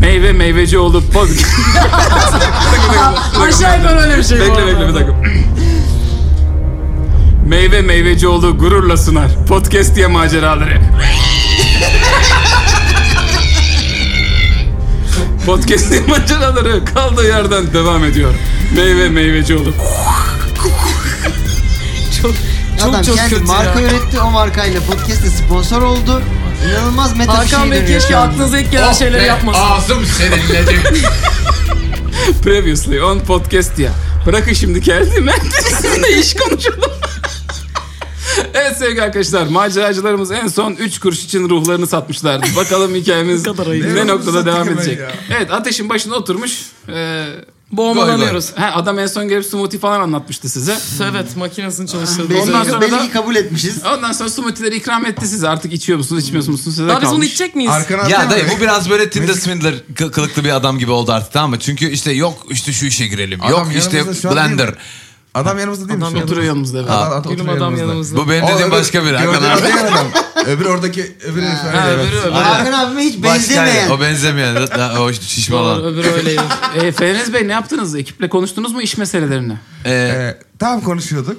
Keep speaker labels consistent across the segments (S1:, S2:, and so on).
S1: meyve meyveci olup poz...
S2: Aşağı yukarı öyle bir şey bu
S1: bekle
S2: arada.
S1: bekle bir dakika. meyve meyveci olduğu gururla sunar. Podcast diye maceraları. Podcast diye maceraları kaldığı yerden devam ediyor. Meyve meyveci olup. çok çok
S3: Adam
S1: çok
S3: kendi
S1: kötü
S3: marka
S1: ya.
S3: üretti o markayla podcast'te sponsor oldu. İnanılmaz meta bir şey
S2: Hakan Bey
S3: dönüyor
S2: keşke
S3: şu an.
S2: aklınıza ilk gelen
S4: Oh
S2: şeyleri
S4: be,
S2: yapmasın.
S4: Ağzım serinledi.
S1: Previously on podcast ya. Bırakın şimdi kendi merkezinde iş konuşalım. Evet sevgili arkadaşlar maceracılarımız en son 3 kuruş için ruhlarını satmışlardı. Bakalım hikayemiz
S2: Ne kadar ayıp.
S1: ne
S4: Ruhunu
S1: noktada
S4: sattık
S1: devam
S4: hemen
S1: edecek.
S4: ya.
S1: Evet ateşin başına oturmuş. Ee,
S2: Boğmalanıyoruz.
S1: ha, adam en son gelip smoothie falan anlatmıştı size.
S2: Evet makinesini çalıştırdı.
S3: Belli,
S1: Ondan sonra
S3: belli
S1: da-
S3: ki kabul etmişiz.
S1: Ondan sonra smoothie'leri ikram etti size. Artık içiyor musunuz içmiyor musunuz size
S2: Daha biz bunu
S1: kalmış.
S2: içecek miyiz?
S4: Arkana
S5: Ya
S4: atlama
S5: dayı
S4: be.
S5: bu biraz böyle Tinder Swindler kı- kılıklı bir adam gibi oldu artık tamam mı? Çünkü işte yok işte şu işe girelim.
S4: Adam
S5: yok işte
S4: yanımızda şu an değil mi?
S5: Blender.
S4: Adam yanımızda değil mi?
S2: Adam
S4: şu an?
S1: Oturuyor yanımızda. evet.
S4: Adam- adam
S2: Gülüm
S4: oturuyor
S2: adam yanımızda.
S5: Bu benim
S4: O
S5: dediğim
S4: öbür-
S5: başka biri.
S4: gördüğün
S5: Hakan abi.
S4: öbür adam. Öbür oradaki öbür herif öyle,
S1: Ha,
S4: evet.
S1: öbürü öbürü.
S3: Hakan abime hiç
S5: Başka
S3: benzemeyen.
S5: o benzemeyen. Daha- O şişme
S2: Doğru,
S5: olan.
S2: öbürü öyleydi.
S1: Ee, Fereniz Bey ne yaptınız? Ekiple konuştunuz mu iş meselelerini?
S5: Ee,
S4: Ee, tam konuşuyorduk.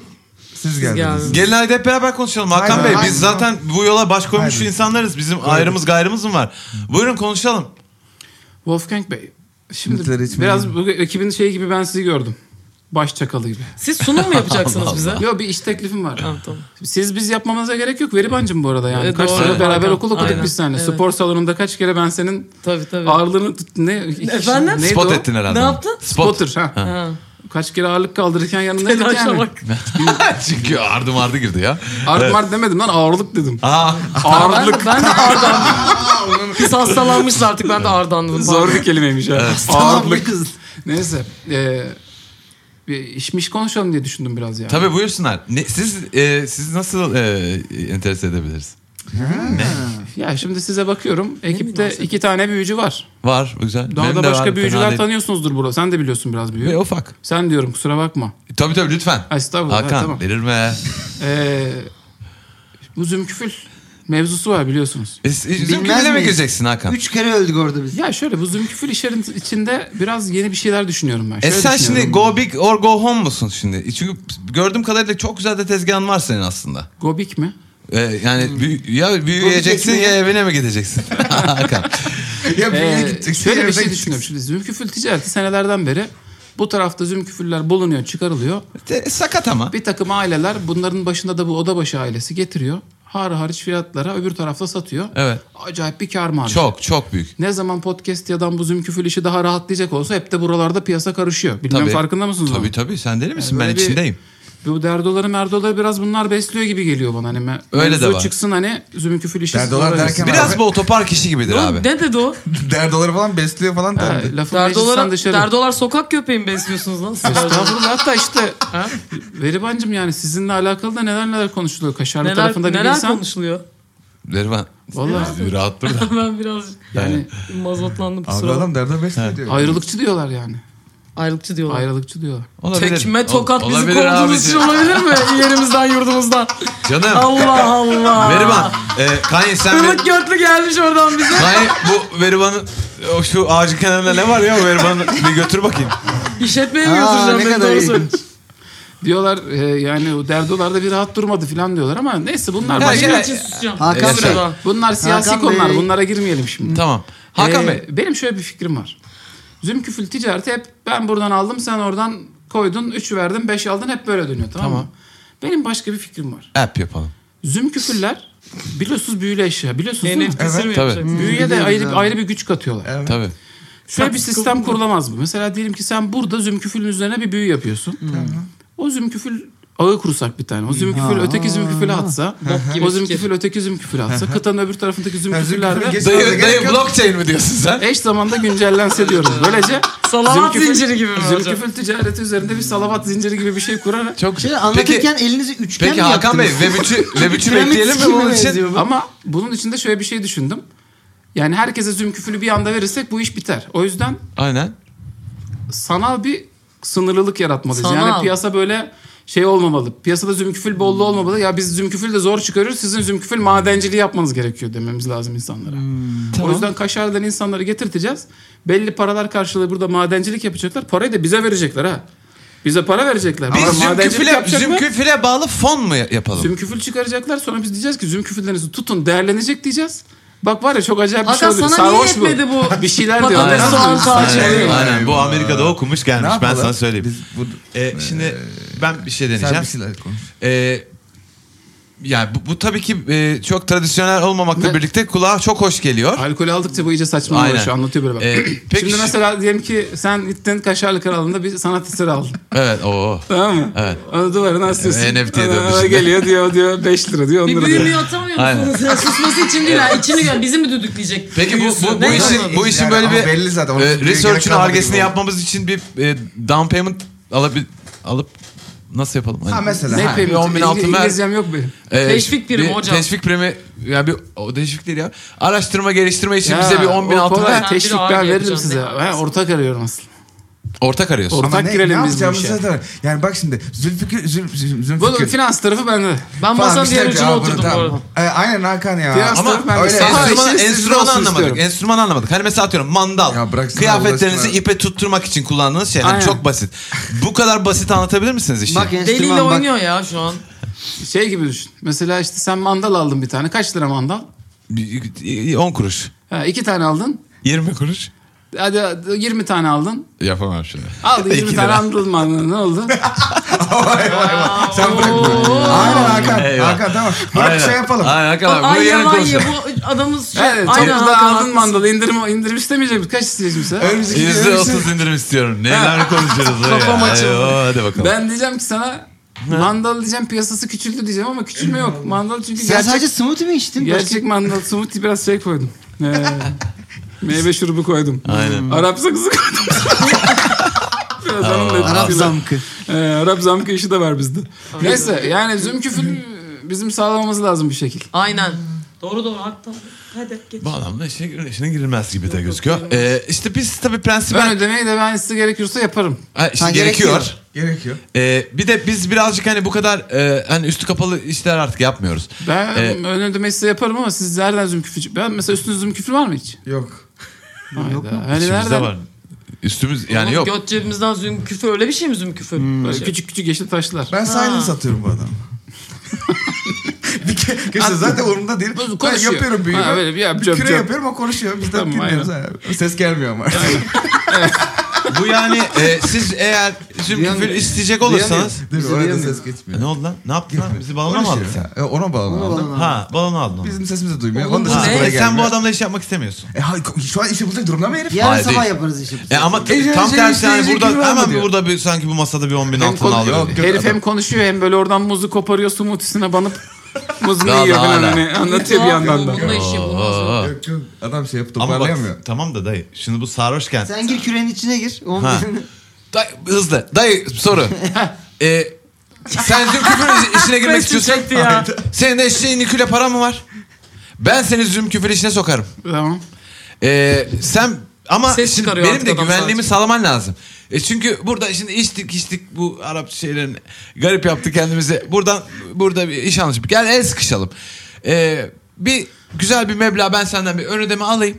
S4: Siz geldiniz.
S2: geldiniz.
S5: Gelin haydi hep beraber konuşalım Hakan
S4: Haydi,
S5: Bey.
S4: haydi.
S5: biz zaten bu yola baş koymuş
S4: Haydi.
S5: insanlarız. Bizim ayrımız gayrımız mı var? Buyurun konuşalım.
S1: Wolfgang Bey, şimdi
S4: Lütfen içmeyin.
S1: biraz bu ekibin şey gibi ben sizi gördüm. Baş çakalı gibi.
S2: Siz sunum mu yapacaksınız bize?
S1: Yo bir iş teklifim var.
S2: Ah. Tamam tamam.
S1: Siz biz yapmamıza gerek yok. Veribancım bu arada yani.
S2: E,
S1: kaç
S2: doğru.
S1: sene
S2: Evet.
S1: beraber
S2: Aynen.
S1: okul okuduk
S2: Aynen.
S1: biz seninle.
S2: Evet.
S1: Spor salonunda kaç kere ben senin
S2: Tabii tabii.
S1: ağırlığını tut- ne?
S2: Efendim?
S1: Neydi
S5: Spot
S1: o?
S5: ettin herhalde.
S2: Ne yaptın?
S1: Spotter. Ha.
S2: Ha.
S1: Kaç kere ağırlık kaldırırken yanındaydık
S2: Telaşa
S1: yani.
S2: bak.
S5: Çünkü ardı mardı girdi ya.
S1: Ağırlık mart demedim lan ağırlık dedim.
S5: Aa,
S1: Ağırlık.
S2: Ben, ben de Ardan. Biz hastalanmışız artık ben de Ardan'dım.
S1: Zor bir kelimeymiş ha.
S3: Tamam
S1: Ağırlık.
S3: bir kız.
S1: Neyse. E, bir işmiş konuşalım diye düşündüm biraz yani.
S5: tabii buyursunlar. Ne, siz e, siz nasıl e, enterese edebiliriz?
S1: Ya şimdi size bakıyorum. Ekipte
S2: münasebet.
S1: iki tane büyücü var.
S5: Var güzel.
S1: Daha
S5: Benim
S1: da
S5: de
S1: başka
S5: var, fena
S1: büyücüler
S5: değil.
S1: tanıyorsunuzdur burada. Sen de biliyorsun biraz büyüğü.
S5: Ve ufak.
S1: Sen diyorum kusura bakma.
S5: Tabii tabii lütfen.
S1: Ay, Estağfurullah.
S5: Hakan
S1: evet, tamam.
S5: delirme.
S1: Ee, bu zümküfül mevzusu var biliyorsunuz.
S5: E, s-
S3: Bilmez
S5: Zümküfül'e mi
S3: miyiz?
S5: gireceksin Hakan?
S3: Üç kere öldük orada biz.
S1: Ya şöyle bu zümküfül işlerin içinde biraz yeni bir şeyler düşünüyorum ben.
S5: E
S1: Şöyle
S5: sen şimdi
S1: düşünüyorum.
S5: go big or go home musun şimdi? E, Çünkü gördüğüm kadarıyla çok güzel de tezgahın var senin aslında.
S1: Gobik mi?
S5: E,
S1: Hmm.
S5: yani büyü- ya büyüyeceksin
S3: Go big mi
S5: ya
S3: ya?
S5: evine mi gideceksin? Hakan.
S4: Ya bir yere
S1: Ee,
S4: gideceksin,
S1: şöyle bir
S4: yerden
S1: şey
S4: gideceksin.
S1: düşünüyorum. Şimdi zümküfül ticareti senelerden beri bu tarafta zümküfüller bulunuyor, çıkarılıyor.
S5: E, Sakat ama.
S1: Bir takım aileler bunların başında da bu odabaşı ailesi getiriyor. Har hariç fiyatlara öbür tarafta satıyor.
S5: Evet.
S1: Acayip bir kar marjı.
S5: Çok çok büyük.
S1: Ne zaman podcast ya da bu zümküfül işi daha rahatlayacak olsa hep de buralarda piyasa karışıyor. Bilmem
S5: Tabii.
S1: farkında mısınız?
S5: Tabii
S1: ama?
S5: tabii sen deli misin?
S1: böyle
S5: ben
S1: bir-
S5: içindeyim.
S1: Bu derdoları merdoları biraz bunlar besliyor gibi geliyor bana. Hani me-
S5: Öyle de
S1: mevzu
S5: var.
S1: çıksın hani zümküfül işi.
S4: Derdolar
S1: sonra
S4: derken-
S5: Biraz
S4: Abi-
S5: bu otopark işi gibidir
S2: Oğlum,
S5: abi.
S2: ne dedi o?
S4: Derdoları falan besliyor falan
S1: Ha,
S4: derdi.
S1: Lafın meclisten
S2: Derdolar,
S1: dışarı.
S2: derdolar sokak köpeği mi besliyorsunuz lan? siz?
S1: Estağfurullah hatta işte
S2: Ha?
S1: Veribancım yani sizinle alakalı da neler neler konuşuluyor. Kaşarlı
S2: neler
S1: hani tarafında bir
S2: neler
S1: insan.
S2: konuşuluyor?
S5: Derman.
S1: Vallahi.
S5: Rahat dur da.
S2: ben biraz
S1: yani
S2: mazotlandım
S4: Abi
S2: kusura. bakma.
S4: adam derdo besliyor diyor.
S1: ayrılıkçı diyorlar yani.
S2: Ayrılıkçı diyorlar.
S1: Ayrılıkçı diyorlar.
S5: Olabilir.
S2: Tekme
S5: Ol-
S2: tokat bizi
S5: olabilir
S2: kovduğunuz için
S5: abicim.
S2: olabilir mi? Yerimizden yurdumuzdan.
S5: Canım.
S2: Allah Allah.
S5: Merivan. E, Kanye sen bir-
S2: Kırlık götlü gelmiş oradan bize.
S5: Hayır bu Verivan'ın o şu ağacın kenarında ne var ya o Verivan'ı bir götür bakayım.
S2: İşletmeye mi
S3: Aa,
S2: götüreceğim
S3: ne
S2: beni
S3: kadar
S2: doğrusu?
S3: ilginç.
S1: Diyorlar e, yani o derdolarda bir rahat durmadı falan diyorlar ama neyse bunlar
S5: Ya
S1: başka.
S5: şey-
S2: Benim için susacağım.
S3: Hakan
S5: Bey.
S2: Daha.
S1: Bunlar siyasi
S3: Hakan
S1: konular.
S3: Bey.
S1: Bunlara girmeyelim şimdi.
S5: Tamam. Hakan
S1: Ee,
S5: Bey.
S1: Benim şöyle bir fikrim var. Zümküfül ticareti hep ben buradan aldım sen oradan koydun 3 verdin 5 aldın hep böyle dönüyor tamam, mı?
S5: Tamam.
S1: Benim başka bir fikrim var.
S5: App yapalım.
S1: Zümküfüller biliyorsunuz büyülü eşya biliyorsunuz değil mi?
S2: NFT'sini mi
S4: Evet,
S5: tabii.
S2: yapacaksın?
S1: Büyüye de
S3: Biliyoruz
S1: ayrı,
S3: abi.
S1: ayrı bir güç katıyorlar.
S4: Evet.
S5: Tabii.
S1: Şöyle bir
S2: Tabii,
S1: sistem
S2: sıkıldım.
S1: kurulamaz mı? Mesela diyelim ki sen burada zümküfülün üzerine bir büyü yapıyorsun. O zümküfül ağı kursak bir tane. O zümküfül öteki zümküfüle atsa. o
S2: gibi
S1: zümküfül
S2: fikir.
S1: öteki zümküfüle atsa. Kıtanın öbür tarafındaki
S4: Ha,
S1: zümküfüller de
S4: zümküfül geç-
S5: Dayı, dayı blockchain mi diyorsun sen?
S1: eş zamanda güncellense diyoruz. Böylece
S2: Salavat zinciri gibi mi hocam?
S1: Zülküfül ticareti üzerinde bir salavat zinciri gibi bir şey kurarak.
S5: Çok
S3: Şöyle anlatırken elinizi üçgen
S5: Peki
S3: mi
S5: Hakan Bey
S3: yaptınız?
S5: Web3'ü web üçü
S3: Piramit
S5: bekleyelim mi
S3: sistemi
S5: bunun için?
S3: benziyor bu.
S1: Ama bunun içinde şöyle bir şey düşündüm. Yani herkese zümküfülü bir anda verirsek bu iş biter. O yüzden
S5: Aynen.
S1: sanal bir sınırlılık yaratmalıyız.
S2: Sanal.
S1: Yani piyasa böyle şey olmamalı. Piyasada zümküfül bolluğu olmamalı. Ya biz zümküfül de zor çıkarıyoruz. Sizin zümküfül madenciliği yapmanız gerekiyor dememiz lazım insanlara.
S5: Hmm.
S1: O yüzden Kaşar'dan insanları getirteceğiz. Belli paralar karşılığı burada madencilik yapacaklar. Parayı da bize verecekler ha. Bize para verecekler. Ama
S5: Biz
S1: madencilik
S5: zümküfüle,
S1: yapacaklar.
S5: zümküfüle bağlı fon mu yapalım?
S1: Zümküfül çıkaracaklar. Sonra biz diyeceğiz ki zümküfüllerinizi tutun değerlenecek diyeceğiz. Bak var ya çok acayip bir şey
S2: Hakan
S1: olabilir.
S2: sana niye
S1: Sarhoş bu.
S2: yetmedi bu?
S1: Bir şeyler
S2: Patates,
S1: diyor.
S2: soğan, salça.
S5: Aynen, aynen. bu
S4: Eyvah.
S5: Amerika'da okumuş
S4: Ne
S5: gelmiş ben
S4: yapalım?
S5: sana söyleyeyim.
S4: Biz bu,
S5: Ee, şimdi ben bir şey deneyeceğim.
S4: sen bir şeyler konuş.
S5: Ee, yani bu, bu tabii ki e, çok tradisyonel olmamakla
S1: Ne?
S5: birlikte kulağa çok hoş geliyor.
S1: Alkol aldıkça bu iyice saçmalıyor
S5: Aynen.
S1: şu anlatıyor böyle bak.
S5: Ee, peki
S1: Şimdi
S5: şu-
S1: mesela diyelim ki sen gittin Kaşarlı Kralı'nda bir sanat eseri aldın.
S5: Evet o.
S1: Tamam mı?
S5: Evet.
S1: Onu duvarına asıyorsun.
S5: Ee, NFT 'ye
S1: Adam
S5: dönmüş.
S1: Geliyor diyor diyor 5 lira diyor 10
S2: Bir
S1: lira diyor.
S2: büyümüyor atamıyor
S5: Aynen.
S2: musunuz? Ya Susması için değil ha. İçini gör. Bizi mi düdükleyecek?
S5: Peki bu, bu, bu
S2: Ne?
S5: işin, bu işin
S4: Yani
S5: böyle
S4: ama
S5: bir
S4: belli zaten, onun
S5: e,
S4: fikri gerek
S5: research'ın
S4: kalmadı
S5: argesini
S4: gibi oldu.
S5: yapmamız için bir e, down payment alabil, alıp nasıl yapalım?
S4: Ha
S5: Hani-
S4: mesela.
S1: Ne
S4: ha.
S1: yapayım?
S5: bir on bin
S1: İngi-
S5: altın ver.
S1: İngilizcem yok benim.
S5: Ee,
S2: Teşvik primi
S5: bir
S2: hocam.
S5: Teşvik primi ya bir o teşvik değil ya. Araştırma geliştirme için
S1: Ya,
S5: bize bir 10 bin
S1: o
S5: altın
S1: kolay.
S5: ver.
S2: Sen
S1: Teşvik
S2: bir ağır
S1: ben veririm
S2: yapacaksın,
S1: size.
S2: ne
S1: Ben ortak arıyorum aslında.
S5: Ortak arıyorsun.
S1: Ortak
S4: ne,
S1: girelim biz
S4: ne
S1: bu
S4: yapacağımızı
S1: işe.
S4: zaten- Yani bak şimdi Zülfikir, Zül, Zül,
S1: Bunun
S4: Zülfikir.
S1: finans tarafı bende.
S2: Ben
S4: Falan
S2: masanın
S4: bir
S2: diğer
S4: şey
S2: ucuna
S4: yapıyor.
S2: oturdum bu
S4: Tamam.
S2: arada.
S4: Ee, aynen Hakan ya.
S1: Finans
S5: Ama
S1: tarafı bende.
S4: öyle
S1: Saha
S4: enstrüman-
S5: enstrümanı,
S1: işiniz sizin
S5: enstrümanı
S1: olsun
S5: anlamadık.
S1: istiyorum.
S5: Enstrümanı anlamadık. Hani mesela atıyorum mandal.
S4: Ya bıraksana Allah
S5: Kıyafetlerinizi
S4: aşkına.
S5: ipe tutturmak için kullandığınız şeyler.
S1: Aynen.
S5: Çok basit. Bu kadar basit anlatabilir misiniz işi?
S3: Bak enstrüman
S2: Deliyle
S3: bak.
S2: oynuyor ya şu an.
S1: Şey gibi düşün. Mesela işte sen mandal aldın bir tane. Kaç lira mandal?
S5: 10 kuruş.
S1: Ha, iki tane aldın.
S5: 20 kuruş.
S1: Hadi 20 tane aldın.
S5: Yapamam şimdi.
S1: Aldın 20
S5: İki
S1: tane
S5: lira.
S1: aldın mandal. Ne oldu?
S4: Sen bırak bunu. Aynen Hakan.
S5: Eyvah.
S4: Hakan tamam. Bırak şey yapalım.
S5: Aynen Hakan abi. Bunu
S2: Ay
S5: yarın
S2: yaman ya
S5: konuşalım.
S2: bu adamın şu
S1: Evet,
S2: Aynen
S1: topla
S2: Hakan,
S1: aldın
S2: haklısın.
S1: mandalı. İndirim, indirim istemeyecek misin? Kaç isteyeceksin sen?
S4: Önümüzdeki
S5: Yüzde
S4: önümüzdeki-
S5: otuz indirim istiyorum. Neler konuşuruz o ya.
S2: Kafam açıldı.
S5: Eyvah, Hadi bakalım.
S1: Ben diyeceğim ki sana mandal diyeceğim piyasası küçüldü diyeceğim ama küçülme yok. Mandal çünkü
S3: Sen
S1: gerçek,
S3: sadece smoothie mi içtin?
S1: gerçek mandal smoothie biraz şey koydum. Ee, meyve şurubu koydum. Hmm.
S5: Aynen.
S1: Arap sakızı koydum. biraz hanım
S3: Başka- Arap
S1: dedi.
S3: zamkı.
S1: Ee, Arap zamkı işi de var bizde. Neyse yani zümküfül bizim sağlamamız lazım bir şekil.
S2: Aynen. Doğru doğru haklı. Hadi geç.
S5: Bu adamın işine, işine girilmez gibi de gözüküyor. Ee, işte biz tabii prensipler
S1: Ben ödemeyi de ben size gerekiyorsa yaparım.
S5: Ha, işte
S3: Ha,
S5: gerekiyor.
S3: gerekiyor.
S4: Gerekiyor.
S5: Ee, bir de biz birazcık hani bu kadar e, hani üstü kapalı işler artık yapmıyoruz.
S1: Ben
S5: Ee,
S1: ön ödemeyi size yaparım ama siz nereden zümküfül... Ben mesela üstünüz zümküfül var mı hiç?
S4: Yok.
S1: Yok Hani
S5: İçimizde
S1: nereden?
S5: var. Üstümüz yani yok.
S2: Göt cebimizden züm küfür öyle bir şey mi züm küfür?
S1: Böyle
S2: Şey.
S1: küçük küçük yeşil taşlar.
S4: Ben silence satıyorum bu adamı. bir ke- Gerçi zaten umurumda değil.
S1: Bu
S4: Ben
S1: konuşuyor.
S4: yapıyorum
S1: Ha,
S4: büyüğü.
S1: böyle bir yap,
S4: Bir
S1: cöp,
S4: küre
S1: cöp.
S4: yapıyorum o konuşuyor. Biz de
S1: Tamam,
S4: dinliyoruz. abi. Ses gelmiyor ama.
S5: Bu yani e, siz eğer tüm küfür isteyecek olursanız.
S4: Değil mi? Orada ses
S5: E,
S4: geçmiyor.
S5: ne oldu lan? Ne yaptın lan? Bizi balona mı aldın
S4: Konuşuyor
S5: sen?
S4: ya. E, Ona bağlı aldım.
S5: Ha balona aldın.
S4: Bizim sesimizi duymuyor. Onun da
S2: bu
S4: sesi
S2: ne?
S4: buraya
S5: E,
S4: gelmiyor.
S5: sen bu adamla iş yapmak istemiyorsun.
S4: E, hayır, şu an işi bulacak durumda mı herif?
S3: Yarın
S5: Hayır,
S3: sabah
S5: değil.
S3: yaparız işi. biz.
S5: E, ama t-
S4: E,
S5: tam
S4: şey,
S5: tersi yani
S4: şey, şey,
S5: burada hemen
S4: diyor.
S5: burada bir sanki bu masada bir 10 bin
S1: Hem,
S5: altın
S1: konu-
S5: alıyor.
S4: Yok,
S1: herif
S4: adam.
S1: hem konuşuyor hem böyle oradan muzu koparıyor smoothiesine banıp muzunu
S5: Daha da
S1: yiyor falan
S5: hala.
S1: hani anlatıyor bir yandan da.
S2: Bununla iş yapılmaz.
S5: Oo.
S4: Yok, yok. Adam şey yapıp
S5: Ama bak
S4: toparlayamıyor.
S5: tamam da dayı şimdi bu sarhoşken.
S3: Sen gir kürenin içine gir. On
S5: Ha. Dayı, hızlı. Dayı soru. e, sen zümküfür işine girmek istiyorsun.
S2: çekti ya.
S5: Senin de eşliğin niküle para mı var? Ben seni zümküfür işine sokarım.
S1: Tamam.
S5: Ee, sen ama
S2: Ses
S5: şimdi
S2: çıkarıyor
S5: benim
S2: artık
S5: de
S2: adam
S5: güvenliğimi
S2: sadece.
S5: sağlaman lazım. E çünkü burada şimdi içtik içtik bu Arap şeylerini garip yaptı kendimizi. Buradan burada bir iş anlaşıp gel el sıkışalım. Ee, bir güzel bir meblağ ben senden bir ön ödeme alayım.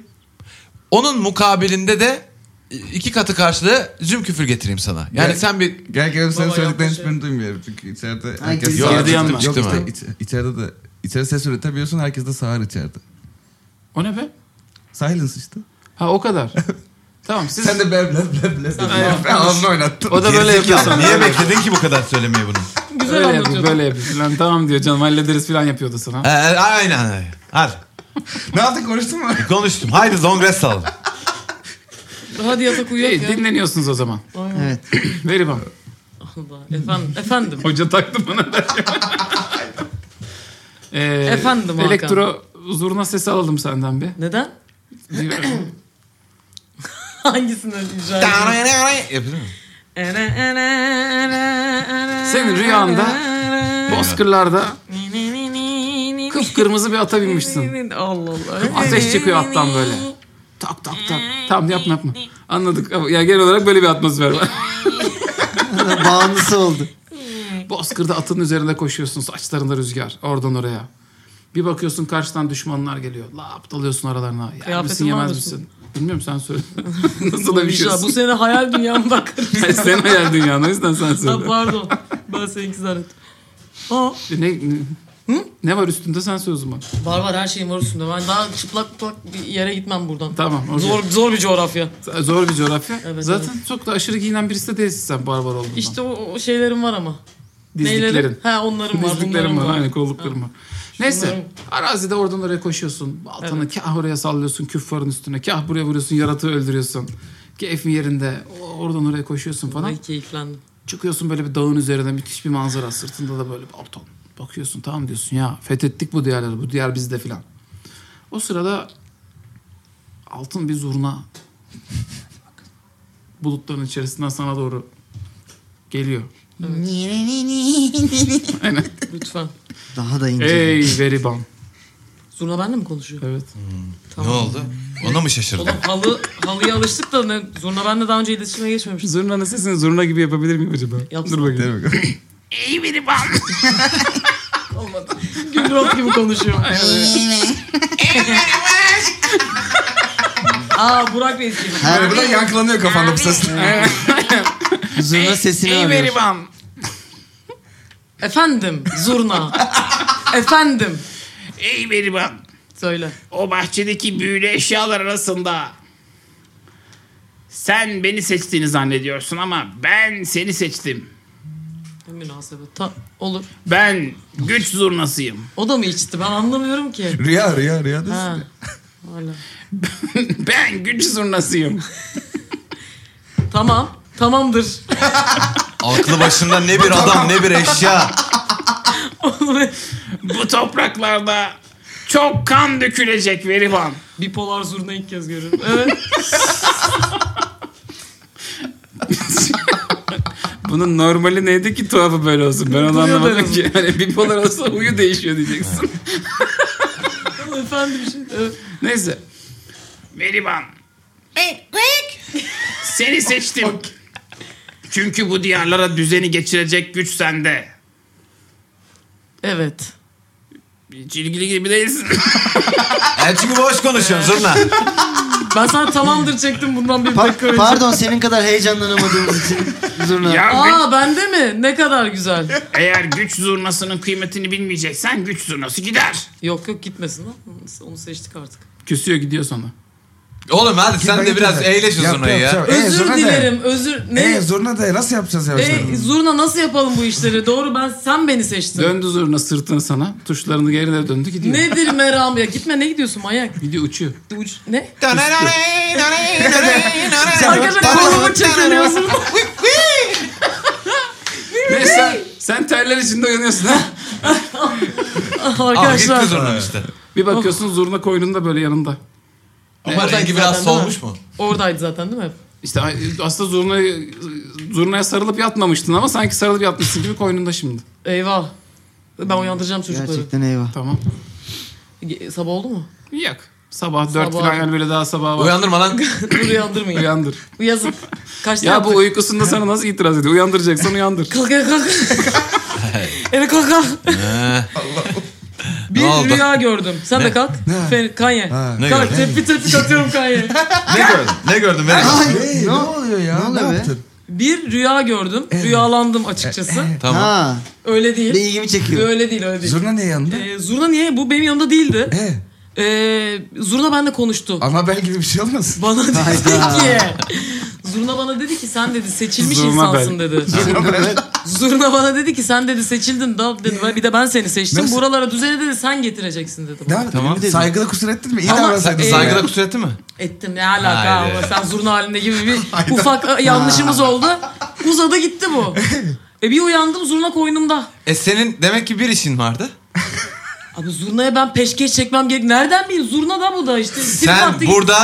S5: Onun mukabilinde de iki katı karşılığı züm küfür getireyim sana. Yani
S4: Gel.
S5: sen bir
S4: Gel gel senin
S2: Baba
S4: söylediklerini
S2: yapma şey.
S4: hiçbirini duymuyorum çünkü içeride
S3: Ay,
S4: herkes
S3: gizli
S4: sağır.
S1: Girdi yanına.
S4: Yok
S5: Değil
S4: işte
S5: mi?
S4: iç- içeride de içeride ses üretebiliyorsun herkes de sağır içeride.
S1: O ne be?
S4: Silence işte.
S1: Ha o kadar. tamam siz
S4: Sen de ber ber ber ber.
S1: Aynen.
S4: Ben Alnını oynattın.
S1: o da böyle yapıyor.
S5: niye bekledin ki bu kadar söylemeyi bunu?
S2: Güzel
S1: Böyle yapıyor,
S2: anlatıyorsun.
S1: böyle yapıyor. Lan tamam diyor canım hallederiz falan yapıyordu sana.
S5: Ee, aynen. Hadi
S4: Ne yaptın konuştun mu?
S5: konuştum. Haydi zongres alalım.
S2: Hadi yatak uyuyak
S1: İyi,
S2: ya.
S1: dinleniyorsunuz o zaman.
S3: Evet.
S1: Veri bana.
S2: Allah, Efendim. Efendim.
S1: Hoca taktı bana. da. ee,
S2: Efendim Hakan.
S1: Elektro zurna sesi alalım senden bir.
S2: Neden? Hangisini rica ediyorum?
S5: Yapayım mı?
S1: Senin rüyanda Bozkırlarda kıpkırmızı bir ata binmişsin.
S2: Allah Allah.
S1: Ateş çıkıyor alttan böyle. Tak tak tak. Tamam yapma yapma. Anladık. Ya genel olarak böyle bir atmosfer var.
S3: Bağımlısı oldu.
S1: Bozkır'da atın üzerinde koşuyorsun saçlarında rüzgar oradan oraya. Bir bakıyorsun karşıdan düşmanlar geliyor. Lap dalıyorsun aralarına. Yer
S2: Kıyafetin
S1: misin yemez
S2: var
S1: misin? Bilmiyorum sen söyle. Nasıl da bir şey
S2: bu sene hayal dünyam bak.
S1: Sen hayal dünyanın o yüzden sen
S2: ha,
S1: söyle.
S2: pardon. Ben seninki zannettim. Aa,
S1: Ne, ne, ne var üstünde sen söz mü?
S2: var var her şeyim var üstümde. Ben daha çıplak çıplak bir yere gitmem buradan.
S1: Tamam. okey.
S2: Zor, zor bir coğrafya.
S1: Zor bir coğrafya.
S2: Evet,
S1: Zaten çok da aşırı giyinen birisi de değilsin sen barbar olduğundan.
S2: İşte o, o şeylerim var ama.
S1: Dizliklerin.
S2: Neylerim? Ha onlarım var.
S1: Dizliklerim var.
S2: bunlarım
S1: Aynen kolluklarım var. Neyse arazide oradan oraya koşuyorsun. Baltanı kah oraya sallıyorsun küffarın üstüne. Kah buraya vuruyorsun yaratığı öldürüyorsun. Keyfin yerinde o- oradan oraya koşuyorsun falan.
S2: Ay keyiflendim.
S1: Çıkıyorsun böyle bir dağın üzerine müthiş bir manzara. Sırtında da böyle balton. Bakıyorsun tamam diyorsun ya fethettik bu diyarları bu diyar bizde filan. O sırada altın bir zurna bulutların içerisinden sana doğru geliyor. Aynen.
S2: Lütfen.
S3: Daha da ince.
S1: Ey veriban.
S2: Zurna benle mi konuşuyor?
S1: Evet.
S5: Ne oldu? Ona mı şaşırdın?
S2: Oğlum halı, halıya alıştık da ne, Zurna benle daha önce iletişime geçmemişti.
S1: Zurna'nın sesini zurna gibi yapabilir miyim acaba?
S2: Yapsana.
S1: Dur bakayım.
S2: Gülrot gibi konuşuyor. Aa Burak Reis gibi.
S4: Yani bu da yankılanıyor kafanda bu ses.
S3: Zurna sesini alıyor.
S2: Efendim Zurna. Efendim.
S1: Ey veriban.
S2: Söyle.
S1: O bahçedeki büyülü eşyalar arasında sen beni seçtiğini zannediyorsun ama ben seni seçtim.
S2: Ne münasebet. Ta- olur.
S1: Ben güç zurnasıyım.
S2: O da mı içti? Ben anlamıyorum ki.
S4: Rüya rüya rüya.
S2: Ha.
S4: diyorsun.
S2: Hala.
S1: ben güç zurnasıyım.
S2: Tamam. Tamamdır.
S5: Aklı başında ne bir adam ne bir eşya.
S1: Bu topraklarda çok kan dökülecek veriban.
S2: Bipolar zurna ilk kez görüyorum. Evet.
S1: Bunun normali neydi ki tuhafı böyle olsun? Ben onu
S2: Duruyor
S1: anlamadım
S2: böyle.
S1: ki. Hani bipolar olsa huyu değişiyor diyeceksin.
S2: Efendim bir şey. Evet.
S1: Neyse. Meriban. Seni seçtim. Çünkü bu diyarlara düzeni geçirecek güç sende.
S2: evet.
S1: Hiç ilgili gibi değilsin.
S5: Elçi gibi boş konuşuyorsun Zurna.
S2: Ben sana tamamdır çektim bundan bir dakika
S3: Pa-
S2: önce.
S3: pardon senin kadar heyecanlanamadığımız için Zurna.
S1: ya gü-
S2: Aa bende mi? Ne kadar güzel.
S1: eğer güç zurnasının kıymetini bilmeyeceksen güç zurnası gider.
S2: Yok yok gitmesin lan. Onu seçtik artık.
S1: Küsüyor gidiyor sana.
S5: Oğlum hadi sen de biraz eğleş o
S4: Yap,
S5: Zurna'yı
S4: yap,
S5: ya.
S4: yap. Ee,
S2: Özür
S4: zurna de.
S2: dilerim. Özür. Ne?
S4: Ee, zurna da nasıl yapacağız yavaş
S2: Ey,
S4: yavaş?
S2: zurna nasıl yapalım bu işleri? Doğru ben sen beni seçtin.
S1: Döndü zurna sırtını sana. Tuşlarını gerine döndü gidiyor.
S2: Nedir meram ya? Gitme ne gidiyorsun manyak?
S1: Gidiyor uçuyor.
S2: Uç- ne? Arkadaşlar kolumu çekiliyor
S5: Arkadaşlar
S2: zurna.
S1: Neyse sen, sen terler içinde uyanıyorsun ha.
S2: Arkadaşlar.
S5: Zurna işte.
S1: Bir bakıyorsun zurna koynunda böyle yanında.
S5: Ama rengi biraz solmuş mu?
S2: Oradaydı zaten değil mi?
S1: İşte aslında zurnayı, zurnaya sarılıp yatmamıştın ama sanki sarılıp yatmışsın gibi koynunda şimdi.
S2: Eyvah. Ben uyandıracağım çocukları.
S3: Gerçekten eyvah.
S1: Tamam.
S2: Ge- Sabah oldu mu?
S1: Yok. Sabah dört
S2: Sabah.
S1: falan yani böyle daha sabah var.
S5: Uyandırma lan.
S2: Dur uyandırmayın.
S1: Uyandır.
S2: Yazık. Kaçta
S1: Ya bu
S2: yaptık?
S1: uykusunda sana nasıl itiraz ediyor? Uyandıracaksan uyandır.
S2: Kalk ya kalk. Ele kalk kalk. Bir
S5: Ne oldu?
S2: rüya gördüm. Sen de kalk. Fe- Kanye.
S5: Ne
S2: Kalk
S5: gördün?
S2: tepi tepi atıyorum Kanye.
S5: Ne gördün? Ne gördün? Ver.
S4: Ee, ne oluyor ya? Ne,
S3: oluyor be?
S4: yaptın?
S2: Bir rüya gördüm. Rüyalandım açıkçası.
S5: Tamam.
S3: Ha,
S2: Öyle
S3: bir de
S2: değil.
S3: ilgimi çekiyor.
S2: Öyle değil öyle değil.
S4: Zurna niye yanında?
S2: Ee, Zurna niye? Bu benim yanımda değildi.
S4: Ee,
S2: Ee, Zurna benimle konuştu.
S4: ana bel gibi bir şey olmasın?
S2: Bana dedi ki... Zurna bana dedi ki sen dedi seçilmiş
S1: Zurna
S2: insansın dedi. Zurna bana dedi ki sen dedi seçildin da dedi "Ben- bir de ben seni seçtim.
S4: Nasıl?
S2: Buralara düzeni dedi sen getireceksin dedi. bana.
S4: Ne tamam. Saygıda kusur ettin mi? İyi
S2: Ama-
S4: davransaydın.
S2: Ee,
S5: Saygıda kusur etti mi?
S2: Ettim ne alaka
S5: Haydi.
S2: ama sen zurna halinde gibi bir ufak ıı, yanlışımız oldu. Uzadı gitti bu. E bir uyandım zurna koynumda.
S5: E senin demek ki bir işin vardı.
S2: Abi zurnaya ben peşkeş çekmem gerek. Nereden bileyim? Zurna da bu da işte. Trip attı
S5: Sen
S2: gitti.
S5: burada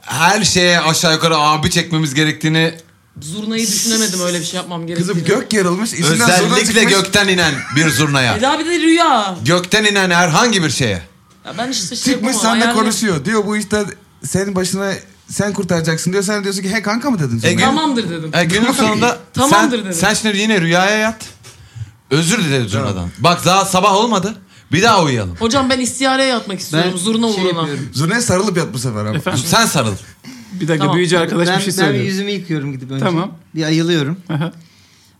S5: her şeye aşağı yukarı abi çekmemiz gerektiğini
S2: Zurnayı düşünemedim öyle bir şey yapmam gerektiğini.
S4: Kızım gök yarılmış. içinden zurna
S5: özellikle
S4: çıkmış.
S5: gökten inen bir zurnaya.
S2: E daha bir de rüya.
S5: Gökten inen herhangi bir şeye.
S2: Ya ben işte şey
S4: Çıkmış
S2: yapamam,
S4: seninle
S2: hayal-
S4: konuşuyor. Diyor bu işte senin başına sen kurtaracaksın diyor. Sen diyorsun ki he kanka mı dedin?
S5: E,
S4: Zurna?
S2: Tamamdır dedim.
S5: E günün sonunda
S2: Tamamdır
S5: sen,
S2: dedi.
S5: sen şimdi yine rüyaya yat. Özür dileriz zurnadan. Bak daha sabah olmadı. Bir daha uyuyalım.
S2: Hocam ben istiyareye yatmak istiyorum.
S3: Ben
S2: zurna
S3: şey
S2: uğruna.
S3: yapıyorum.
S4: Zurnaya sarılıp yat bu sefer ama.
S5: Sen sarıl.
S1: Bir dakika
S2: Tamam.
S1: büyücü arkadaş
S3: ben,
S1: bir şey
S3: ben bir
S1: söylüyor.
S3: yüzümü yıkıyorum gidip önce.
S1: Tamam.
S3: Bir ayılıyorum.
S1: Aha.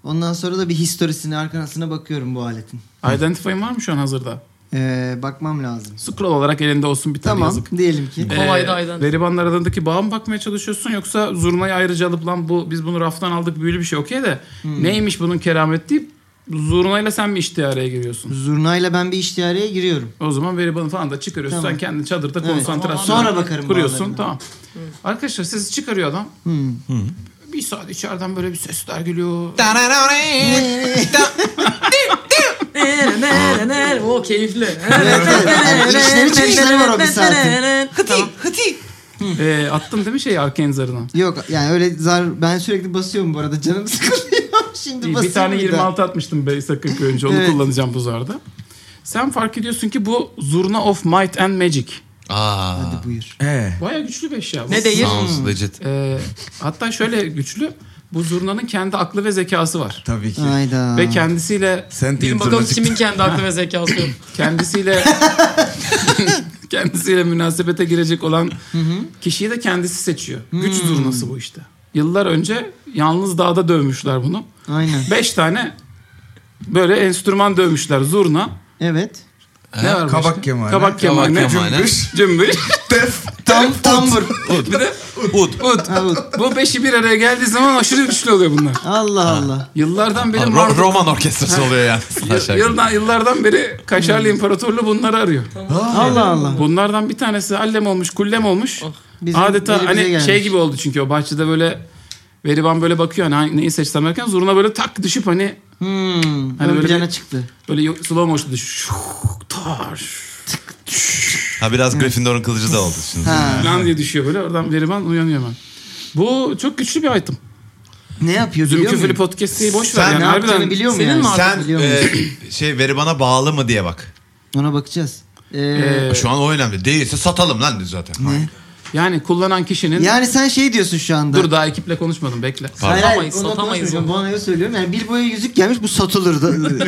S3: Ondan sonra da bir historisine arkasına bakıyorum bu aletin.
S1: Identify'ın var mı şu an hazırda?
S3: Ee, bakmam lazım.
S1: Scroll olarak elinde olsun bir tane
S3: Tamam
S1: yazık.
S3: diyelim ki.
S1: Ee,
S2: Kolaydı Identify.
S1: Garibanlar arasındaki bağa mı bakmaya çalışıyorsun yoksa zurnayı ayrıca alıp lan bu biz bunu raftan aldık büyülü bir şey okey de neymiş bunun keramet deyip zurnayla sen mi iştihareye giriyorsun?
S3: Zurnayla ben bir iştihareye giriyorum.
S1: O zaman veribanı falan da çıkarıyorsun.
S3: Tamam.
S1: Sen kendi çadırda
S3: Evet.
S1: konsantrasyon
S3: Sonra bakarım
S1: kuruyorsun.
S3: bağlarına.
S1: Tamam. Arkadaşlar sizi çıkarıyor adam. Bir saat içeriden böyle bir sesler geliyor.
S2: Nere, nere, nere. o keyifli.
S3: İşleri çıkışları var o bir saatin.
S1: Ee, attın değil mi şeyi arcane zarına?
S3: Yok yani öyle zar ben sürekli basıyorum bu arada canım sıkılıyor. Şimdi
S1: Bir,
S3: basayım
S1: tane
S3: daha.
S1: 26 atmıştım Bey Sakık önce. Onu
S3: Evet.
S1: kullanacağım bu zarda. Sen fark ediyorsun ki bu Zurna of Might and Magic.
S5: Aa.
S3: Hadi buyur.
S4: He.
S1: Baya güçlü bir eşya. bu.
S2: Ne değil?
S5: Sounds legit.
S1: Ee, hatta şöyle güçlü. Bu zurnanın kendi aklı ve zekası var.
S4: Tabii ki.
S3: Hayda.
S1: Ve kendisiyle
S4: Sen
S2: Bilin
S4: değil
S2: bakalım
S4: zurna çıktı.
S2: kimin kendi aklı ve zekası yok.
S1: kendisiyle kendisiyle münasebete girecek olan kişiyi de kendisi seçiyor. Güç zurnası bu işte. Yıllar önce yalnız dağda dövmüşler bunu.
S3: Aynen.
S1: Beş tane böyle enstrüman dövmüşler zurna.
S3: Evet.
S1: Ne var başka?
S4: Kabak kemane.
S1: Kabak kemane.
S5: Kabak kemane.
S1: Cümbüş. Cümbüş.
S4: Tef.
S3: Tam tambur.
S1: bir de
S5: Ud.
S1: ut.
S3: Ha, bu.
S1: Bu beşi bir araya geldiği zaman aşırı güçlü oluyor bunlar.
S3: Allah Allah.
S1: Yıllardan beri
S5: Ro-
S1: Marduk-
S5: Roman orkestrası oluyor yani. Aşağı yukarı.
S1: Yıldan, yıllardan beri Kaşarlı İmparatorluğu bunları arıyor.
S3: Allah Allah.
S1: Bunlardan bir tanesi allem olmuş, kullem olmuş.
S3: Oh, Bizim
S1: Adeta
S3: elimize
S1: hani
S3: gelmiş.
S1: şey gibi oldu çünkü o bahçede böyle Veriban böyle bakıyor hani hangi- neyi seçsem derken zurna böyle tak düşüp hani
S3: Hmm.
S1: Hani
S3: ön
S1: böyle
S3: plana
S1: bir-
S3: çıktı.
S1: böyle yo- slow motion düşüyor. Şuk, Tar
S5: Ha biraz Gryffindor'un kılıcı da oldu şimdi.
S3: Ha.
S1: falan diye düşüyor böyle. Oradan Veriban uyanıyor hemen. Bu çok güçlü bir item.
S3: Ne yapıyor biliyor
S1: Zümküfülü
S3: muyum?
S1: podcast'i boş ver.
S5: Sen
S1: yani
S3: Ne
S1: harbiden-
S3: yaptığını biliyor mu
S2: Senin
S3: yani?
S2: mi abi?
S5: Sen
S3: Biliyor musun?
S5: e, şey veribana bağlı mı diye bak.
S3: Ona bakacağız. Ee,
S1: Ee,
S5: Şu an o önemli. Değilse satalım lan zaten.
S1: yani kullanan kişinin...
S3: yani sen şey diyorsun şu anda.
S1: Dur daha ekiple konuşmadım bekle.
S5: Pardon.
S2: Satamayız,
S3: ondan
S2: satamayız
S3: konuşmayacağım.
S2: onu.
S3: Bu anaya söylüyorum. Yani bir boya yüzük gelmiş bu satılırdı.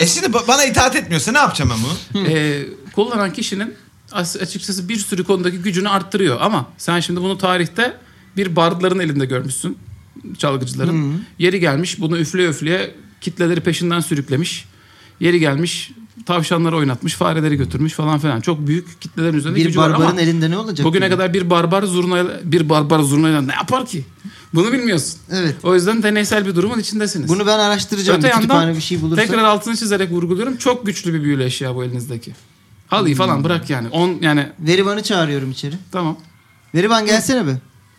S5: E şimdi ba- bana itaat etmiyorsa ne yapacağım ben bunu?
S1: Ee, kullanan kişinin as- açıkçası bir sürü konudaki gücünü arttırıyor ama sen şimdi bunu tarihte bir bardların elinde görmüşsün çalgıcıların. Yeri gelmiş bunu üfleye üfleye kitleleri peşinden sürüklemiş. Yeri gelmiş tavşanları oynatmış, fareleri götürmüş falan filan. Çok büyük kitlelerin üzerinde
S3: bir
S1: gücü var
S3: barbarın
S1: ama
S3: elinde ne olacak?
S1: bugüne
S3: yani?
S1: kadar bir barbar zurnayla bir barbar zurnayla ne yapar ki? Bunu bilmiyorsun.
S3: Evet.
S1: O yüzden deneysel bir durumun içindesiniz.
S3: Bunu ben araştıracağım.
S1: Öte
S3: bir kütüphane
S1: yandan
S3: bir şey bulursam.
S1: tekrar altını çizerek vurguluyorum. Çok güçlü bir büyülü eşya bu elinizdeki. Halıyı
S3: Hmm.
S1: falan bırak yani. On yani
S3: Veriban'ı çağırıyorum içeri.
S1: tamam.
S3: Veriban gelsene be.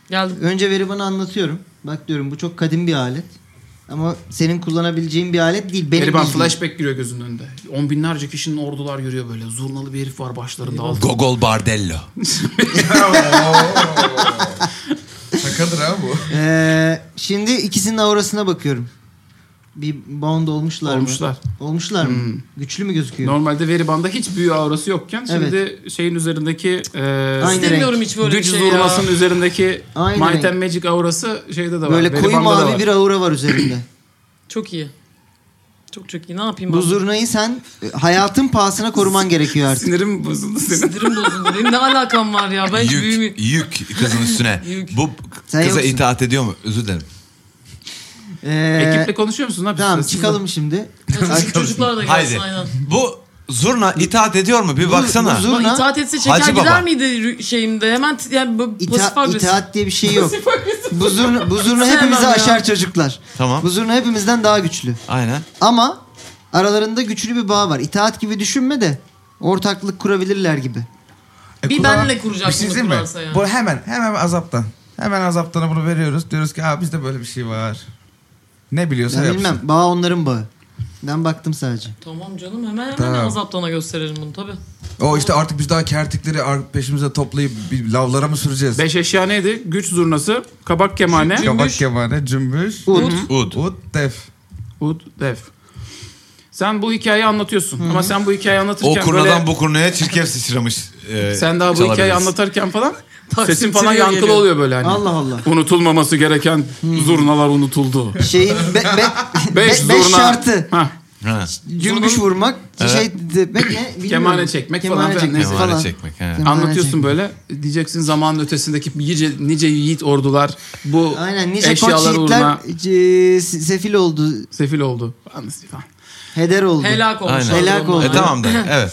S2: Geldim.
S3: Önce Veriban'ı anlatıyorum. Bak diyorum bu çok kadim bir alet. Ama senin kullanabileceğin bir alet değil. Benim
S1: Gariban
S3: bildiğim.
S1: flashback giriyor gözünün önünde. On binlerce kişinin ordular yürüyor böyle. Zurnalı bir herif var başlarında. altı.
S5: Gogol Bardello.
S4: Şakadır ha bu.
S3: Ee, şimdi ikisinin aurasına bakıyorum. Bir bond olmuşlar,
S1: Olmuşlar. Hmm.
S3: mı? Olmuşlar mı? Güçlü mü gözüküyor?
S1: Normalde veribanda hiç büyü aurası yokken şimdi şeyin üzerindeki e,
S3: Aynı
S2: İstemiyorum hiç böyle bir
S1: güç
S2: şey ya.
S1: zurnasının üzerindeki
S3: Aynı
S1: Might
S3: renk.
S1: and Magic aurası şeyde de var.
S3: Böyle koyu
S1: veribanda da
S3: mavi
S1: var.
S3: bir aura var üzerinde.
S2: Çok iyi. Çok çok iyi. Ne yapayım
S3: bu
S2: ben?
S3: zurnayı sen e, hayatın pahasına koruman gerekiyor artık.
S1: Sinirim bozuldu senin.
S2: Sinirim bozuldu. Benim ne alakam var ya? Ben hiç büyümü...
S5: Yük, yük kızın üstüne.
S2: Yük.
S5: Bu
S3: Sen
S5: kıza
S3: yoksun.
S5: itaat ediyor mu? Özür dilerim.
S3: Ee,
S1: Ekiple konuşuyor musun? Ne yapıyorsun?
S3: Tamam
S1: Siz de-
S3: çıkalım şimdi.
S2: Çocuk- Çocuklar da gelsin
S5: Haydi.
S2: aynen.
S5: Bu zurna itaat ediyor mu? Bir baksana.
S3: bu
S2: Ama
S3: Zurna-
S2: itaat etse çeker
S5: Hacı
S2: gider
S5: Baba.
S2: miydi rü- şeyimde? Hemen t- yani bu pasif
S3: İta-
S2: agresif.
S3: itaat diye bir şey yok. Bu zurna, bu zurna
S2: Sevmem
S3: hepimizi
S2: ya.
S3: aşar çocuklar.
S5: Tamam.
S3: Bu zurna hepimizden daha güçlü.
S5: Aynen.
S3: Ama aralarında güçlü bir bağ var. İtaat gibi düşünme de ortaklık kurabilirler gibi.
S4: E,
S2: Bir
S4: kullanan-
S2: benle kuracak
S4: Bir şey
S2: bunu
S4: diyeyim mi?
S2: kurarsa yani.
S4: Bu hemen hemen azaptan. Hemen azaptana bunu veriyoruz. Diyoruz ki abi bizde böyle bir şey var. Ne biliyorsa
S3: Ben
S4: yapsın.
S3: bilmem. Bağ onların bağı. Ben baktım sadece.
S2: Tamam canım hemen hemen
S4: Tamam.
S2: azaptana gösterelim bunu tabii.
S4: O işte artık biz daha kertikleri ar- peşimize toplayıp bir lavlara mı süreceğiz?
S1: Beş eşya neydi? Güç zurnası, kabak kemane,
S4: Kabak kemane, cümbüş,
S3: Ut.
S5: Ud.
S4: ut, def.
S1: Ud Dev. Sen bu hikayeyi anlatıyorsun ama sen bu hikayeyi
S5: O
S1: anlatırken
S5: kurnadan
S1: böyle
S5: bu kurnaya çirkef sıçramış. e,
S1: sen daha bu
S5: çalabiliriz.
S1: hikayeyi anlatırken falan
S2: Taksim
S1: sesin falan
S2: trio
S1: yankılı
S2: geliyor.
S1: oluyor böyle hani.
S3: Allah Allah.
S1: Unutulmaması gereken zurnalar unutuldu.
S3: Şeyin be, be, be-
S1: Beş
S3: beş
S1: zurna.
S3: şartı.
S1: Hah.
S5: Ha.
S3: Cümbüş
S1: Sonra-
S3: vurmak, şey demek ne? bilmiyorum.
S1: Kemane çekmek falan
S3: Kemane
S1: filan,
S3: çekmek
S1: neyse.
S5: Kemane
S3: falan.
S5: çekmek, he.
S3: Kemane
S1: Anlatıyorsun
S3: çekmek.
S1: böyle diyeceksin zamanın ötesindeki nice, nice yiğit ordular bu
S3: Aynen nice koç
S1: eşyalar
S3: yiğitler
S1: uğruna
S3: e, se- sefil oldu,
S1: sefil oldu. Falan filan.
S3: heder oldu.
S2: Helak olmuş.
S5: Aynen.
S3: Helak oldu.
S5: E, tamam da evet.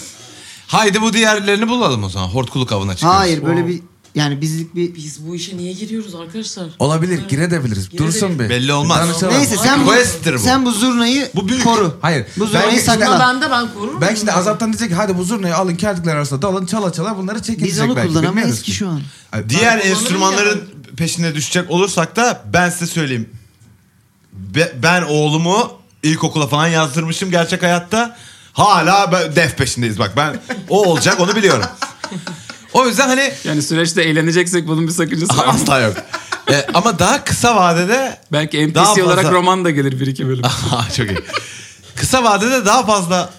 S5: Haydi bu diğerlerini bulalım o zaman. Hortkuluk avına çıkıyoruz.
S3: Hayır böyle bir yani bizlik bir
S2: Biz bu işe niye giriyoruz arkadaşlar?
S4: Olabilir girebiliriz.
S2: Girebilir.
S4: Dursun bir.
S5: Belli olmaz.
S4: Danışalım.
S3: Neyse sen bu,
S5: Quest'tir bu.
S3: sen bu zurnayı
S5: Bu büyük.
S3: koru.
S4: Hayır.
S3: Bu zurnayı
S4: Belki-
S3: sakla.
S2: Ama ben de ben korurum.
S4: Belki de azaptan diyecek ki hadi bu zurnayı alın kertikler arasında dalın çala çala bunları çekin
S3: Biz
S4: diyecek
S3: onu
S4: belki,
S3: kullanamayız
S4: bilmiyoruz
S3: ki şu an.
S4: Ay,
S5: Diğer
S2: kullanırım
S5: enstrümanların peşine düşecek olursak da ben size söyleyeyim. Be- ben oğlumu ilkokula falan yazdırmışım gerçek hayatta. Hala be- def peşindeyiz bak ben o olacak onu biliyorum. O yüzden hani
S1: Yani süreçte eğleneceksek bunun bir sakıncası var mı?
S5: asla yok. E, ama daha kısa vadede
S1: Belki NPC
S5: Daha fazla-
S1: olarak roman da gelir bir iki bölüm.
S5: Aha, çok iyi. Kısa vadede daha fazla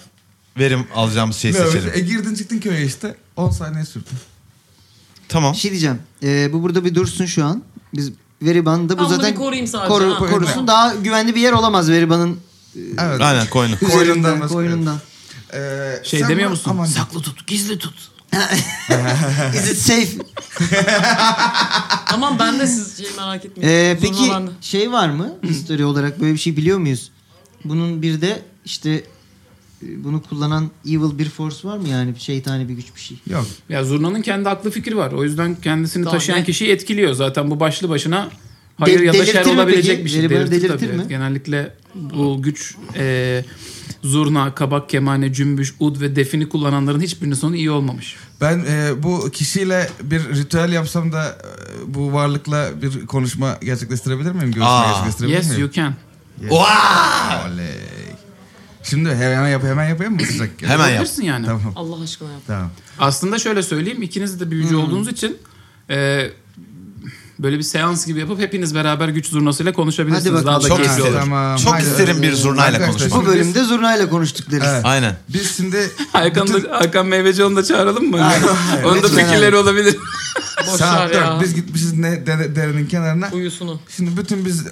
S5: verim alacağımız şeyi
S4: Ne
S5: seçelim.
S4: öyle? E, girdin çıktın köye işte 10 saniye sürdü.
S5: Tamam.
S3: Bir şey diyeceğim. Ee, bu burada bir dursun şu an. Biz Veriban'da bu
S2: Ben bunu
S3: zaten
S2: bir koruyayım sadece,
S3: koru-
S2: ha.
S3: korusun. Daha güvenli bir yer olamaz Veriban'ın
S4: Evet.
S5: Aynen koyunu.
S4: Şey- Koyunundan
S3: koyunundan.
S4: başka.
S3: koyunundan.
S4: Ee,
S1: Şey
S4: sen
S1: demiyor
S4: bana-
S1: musun?
S4: Aman-
S1: Saklı tut, gizli tut.
S3: Is it safe?
S2: Tamam ben de siz şey merak etmeyin.
S3: Ee,
S2: Zurna
S3: peki
S2: bende.
S3: şey var mı? Story olarak böyle bir şey biliyor muyuz? Bunun bir de işte e, bunu kullanan evil bir force var mı yani? Bir Şeytani bir güç bir şey.
S4: Yok.
S1: Ya Zurna'nın kendi aklı fikri var. O yüzden kendisini
S2: Tamam,
S1: taşıyan
S2: ne?
S1: kişiyi etkiliyor. Zaten bu başlı başına hayır ya da
S3: delirtir
S1: şer
S3: mi
S1: olabilecek
S3: peki?
S1: bir şey.
S3: Veri bana
S1: Delirtir
S3: delirtir
S1: tabii.
S3: mi?
S1: Evet, Genellikle bu güç e, zurna, kabak, kemane, cümbüş, ud ve defini kullananların hiçbirinin sonu iyi olmamış.
S4: Ben e, bu kişiyle bir ritüel yapsam da e, bu varlıkla bir konuşma gerçekleştirebilir miyim? Görüşme
S5: Aa.
S4: gerçekleştirebilir
S1: yes
S4: miyim?
S1: you can.
S5: Oha!
S4: Oley. Şimdi hemen yap hemen yapayım mı sıcak?
S5: Hemen yap.
S1: Yapabilirsin yani.
S4: Tamam.
S2: Allah aşkına yap.
S4: Tamam.
S1: Aslında şöyle söyleyeyim. ikiniz de
S3: Hmm.
S1: büyücü olduğunuz için e, böyle bir seans gibi yapıp hepiniz beraber güç zurnasıyla konuşabilirsiniz.
S3: Hadi
S1: Daha
S3: bakalım.
S1: da
S5: Çok
S1: keyifli
S5: isterim.
S1: olur.
S4: Tamam,
S5: Çok
S4: haydi.
S5: isterim bir zurnayla
S4: Arkadaşlar,
S5: konuşmak.
S3: Bu
S4: şimdi biz-
S3: bölümde zurnayla konuştuk deriz.
S4: Evet.
S5: Aynen.
S4: Biz şimdi
S1: Hakan,
S4: bütün-
S1: da, Hakan Meyveci onu da çağıralım mı? Onun da
S3: lütfen.
S1: fikirleri olabilir.
S2: Boş ver
S4: saat
S2: ya.
S4: dört. Biz gitmişiz ne dere- derenin kenarına.
S2: Uyusunu.
S4: Şimdi bütün biz e,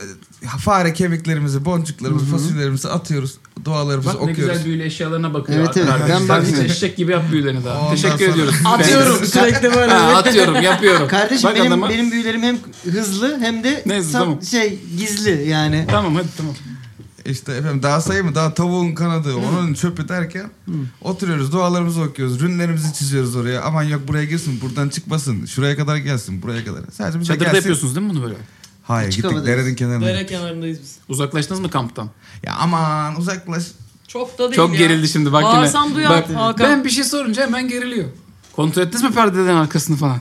S4: fare kemiklerimizi, boncuklarımızı, fasulyelerimizi atıyoruz. Dualarımızı
S1: Bak ne
S4: okuyoruz.
S1: güzel büyülü eşyalarına bakıyor.
S3: Evet, evet.
S1: arkadaşlar.
S3: Ben
S1: Sen
S3: bakmıyorum.
S1: hiç eşek gibi yap büyülerini daha.
S4: Ondan
S1: Teşekkür
S4: sonra-
S1: ediyoruz.
S2: Atıyorum sürekli böyle.
S1: ha, atıyorum yapıyorum.
S3: Kardeşim
S1: Bak
S3: benim
S1: adama.
S3: benim büyülerim hem hızlı hem de
S1: Neyse,
S3: tam
S1: tamam.
S3: şey gizli yani.
S1: Tamam hadi tamam.
S4: İşte efendim daha sayı mı? Daha tavuğun kanadı, onun çöpü derken oturuyoruz, dualarımızı okuyoruz, rünlerimizi çiziyoruz oraya. Aman yok buraya girsin, buradan çıkmasın, şuraya kadar gelsin, buraya kadar. Sadece bize
S1: Çadırda
S4: gelsin.
S1: yapıyorsunuz değil mi bunu böyle?
S4: Hayır
S3: Açık
S4: gittik
S3: havadayız.
S4: derenin kenarına.
S2: Dere kenarındayız biz.
S1: Uzaklaştınız mı kamptan?
S4: Ya aman uzaklaş.
S2: Çok da değil
S1: Çok
S2: ya.
S1: gerildi şimdi bak yine.
S2: Bağırsam duyar
S1: Bak,
S2: Hakan.
S1: ben bir şey sorunca hemen geriliyor. Kontrol ettiniz mi perdeden arkasını falan?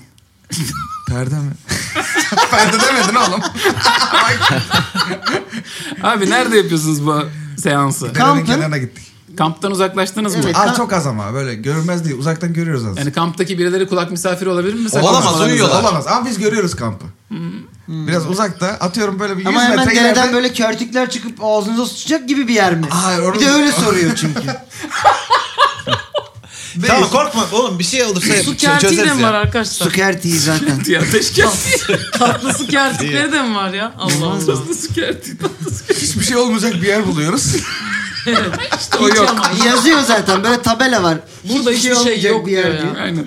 S4: Perde mi? Perde demedin oğlum.
S1: Abi nerede yapıyorsunuz bu seansı?
S4: Derenin
S3: Kampın-
S4: kenarına gittik.
S1: Kamptan uzaklaştınız mı?
S3: Evet.
S4: Aa
S3: Kamp-
S4: çok az ama böyle görünmez değil uzaktan görüyoruz az.
S1: Yani kamptaki birileri kulak misafiri olabilir mi? Mesela
S5: Olamaz,
S1: konuşmalarınızda-
S5: uyuyorlar.
S4: Olamaz ama biz görüyoruz kampı. Biraz uzakta atıyorum böyle bir 100
S3: Hmm. Ama hemen
S4: metre
S3: dereden
S4: ileride.
S3: böyle körtükler çıkıp ağzınıza sıçacak gibi bir yer mi?
S4: Hayır, onu-
S3: bir de öyle soruyor çünkü.
S5: Tamam korkma oğlum bir şey olursa
S2: Su
S5: çö-
S2: kertiği de
S5: çözeriz
S2: mi var
S5: ya.
S2: arkadaşlar?
S3: Sukertiği zaten.
S1: Ya ateş kesti.
S2: Tatlı su kertikleri de mi var ya? Allah Allah.
S1: Nasıl kerti?
S4: Hiçbir şey olmayacak bir yer buluyoruz.
S1: İşte o yok.
S3: Yazıyor zaten böyle tabela var.
S2: Burada
S3: Hiçbir
S2: hiçbir şey
S3: olmayacak
S2: yok
S3: bir yer
S2: diyor ya.
S3: diyor.
S1: Aynen.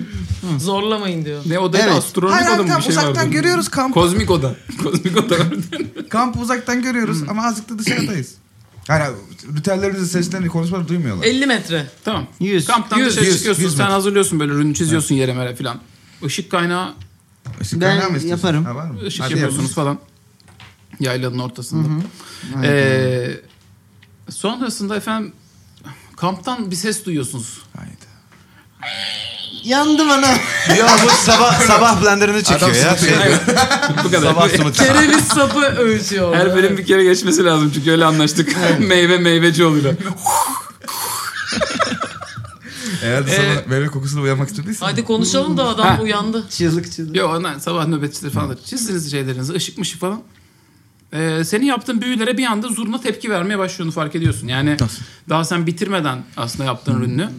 S2: Zorlamayın diyor.
S1: Ne odaydı?
S3: Evet.
S1: Astronomik
S4: Hayır,
S1: oda mı
S4: tam
S1: bir şey vardı?
S4: uzaktan görüyoruz kampı.
S1: Kozmik oda. Kozmik oda vardı.
S4: Kampı uzaktan görüyoruz
S3: Hmm.
S4: ama azıcık da dışarıdayız. Yani ritüellerimizin seslerini konuşmaları duymuyorlar.
S3: E,
S2: 50 metre.
S1: tamam.
S3: Yüz.
S1: Kamptan
S2: Yüz,
S1: dışarı
S4: yüz,
S1: çıkıyorsun.
S4: yüz
S1: sen
S4: metre.
S1: hazırlıyorsun böyle rünü çiziyorsun yere mere falan. Işık kaynağı
S4: Işık
S3: Ben
S4: kaynağı mı istiyorsun?
S3: yaparım.
S4: Ha, var mı?
S1: ışık
S4: Hadi
S1: yapıyorsunuz
S4: yapalım.
S1: falan. Yaylanın ortasında. Ee, sonrasında efendim kamptan bir ses duyuyorsunuz.
S4: Haydi.
S3: Yandım ana.
S5: Ya bu sabah sabah blenderını çekiyor ya. Şey,
S1: Bu kadar.
S5: sabah sımıtı.
S2: Kereviz sapı ölçüyor.
S1: Her bölüm bir kere geçmesi lazım çünkü öyle anlaştık. Meyve meyveci oluyor.
S4: Eğer de
S1: Ee,
S4: sabah meyve kokusuyla uyanmak istediysen.
S2: Hadi konuşalım da adam
S1: Ha.
S2: uyandı.
S3: Çığlık çığlık.
S1: Yo onlar sabah nöbetçileri falan da çizdiniz şeylerinizi ışık mışık falan. Ee, senin yaptığın büyülere bir anda zurna tepki vermeye başlıyorsun fark ediyorsun. Yani
S4: Nasıl?
S1: daha sen bitirmeden aslında yaptığın ürünü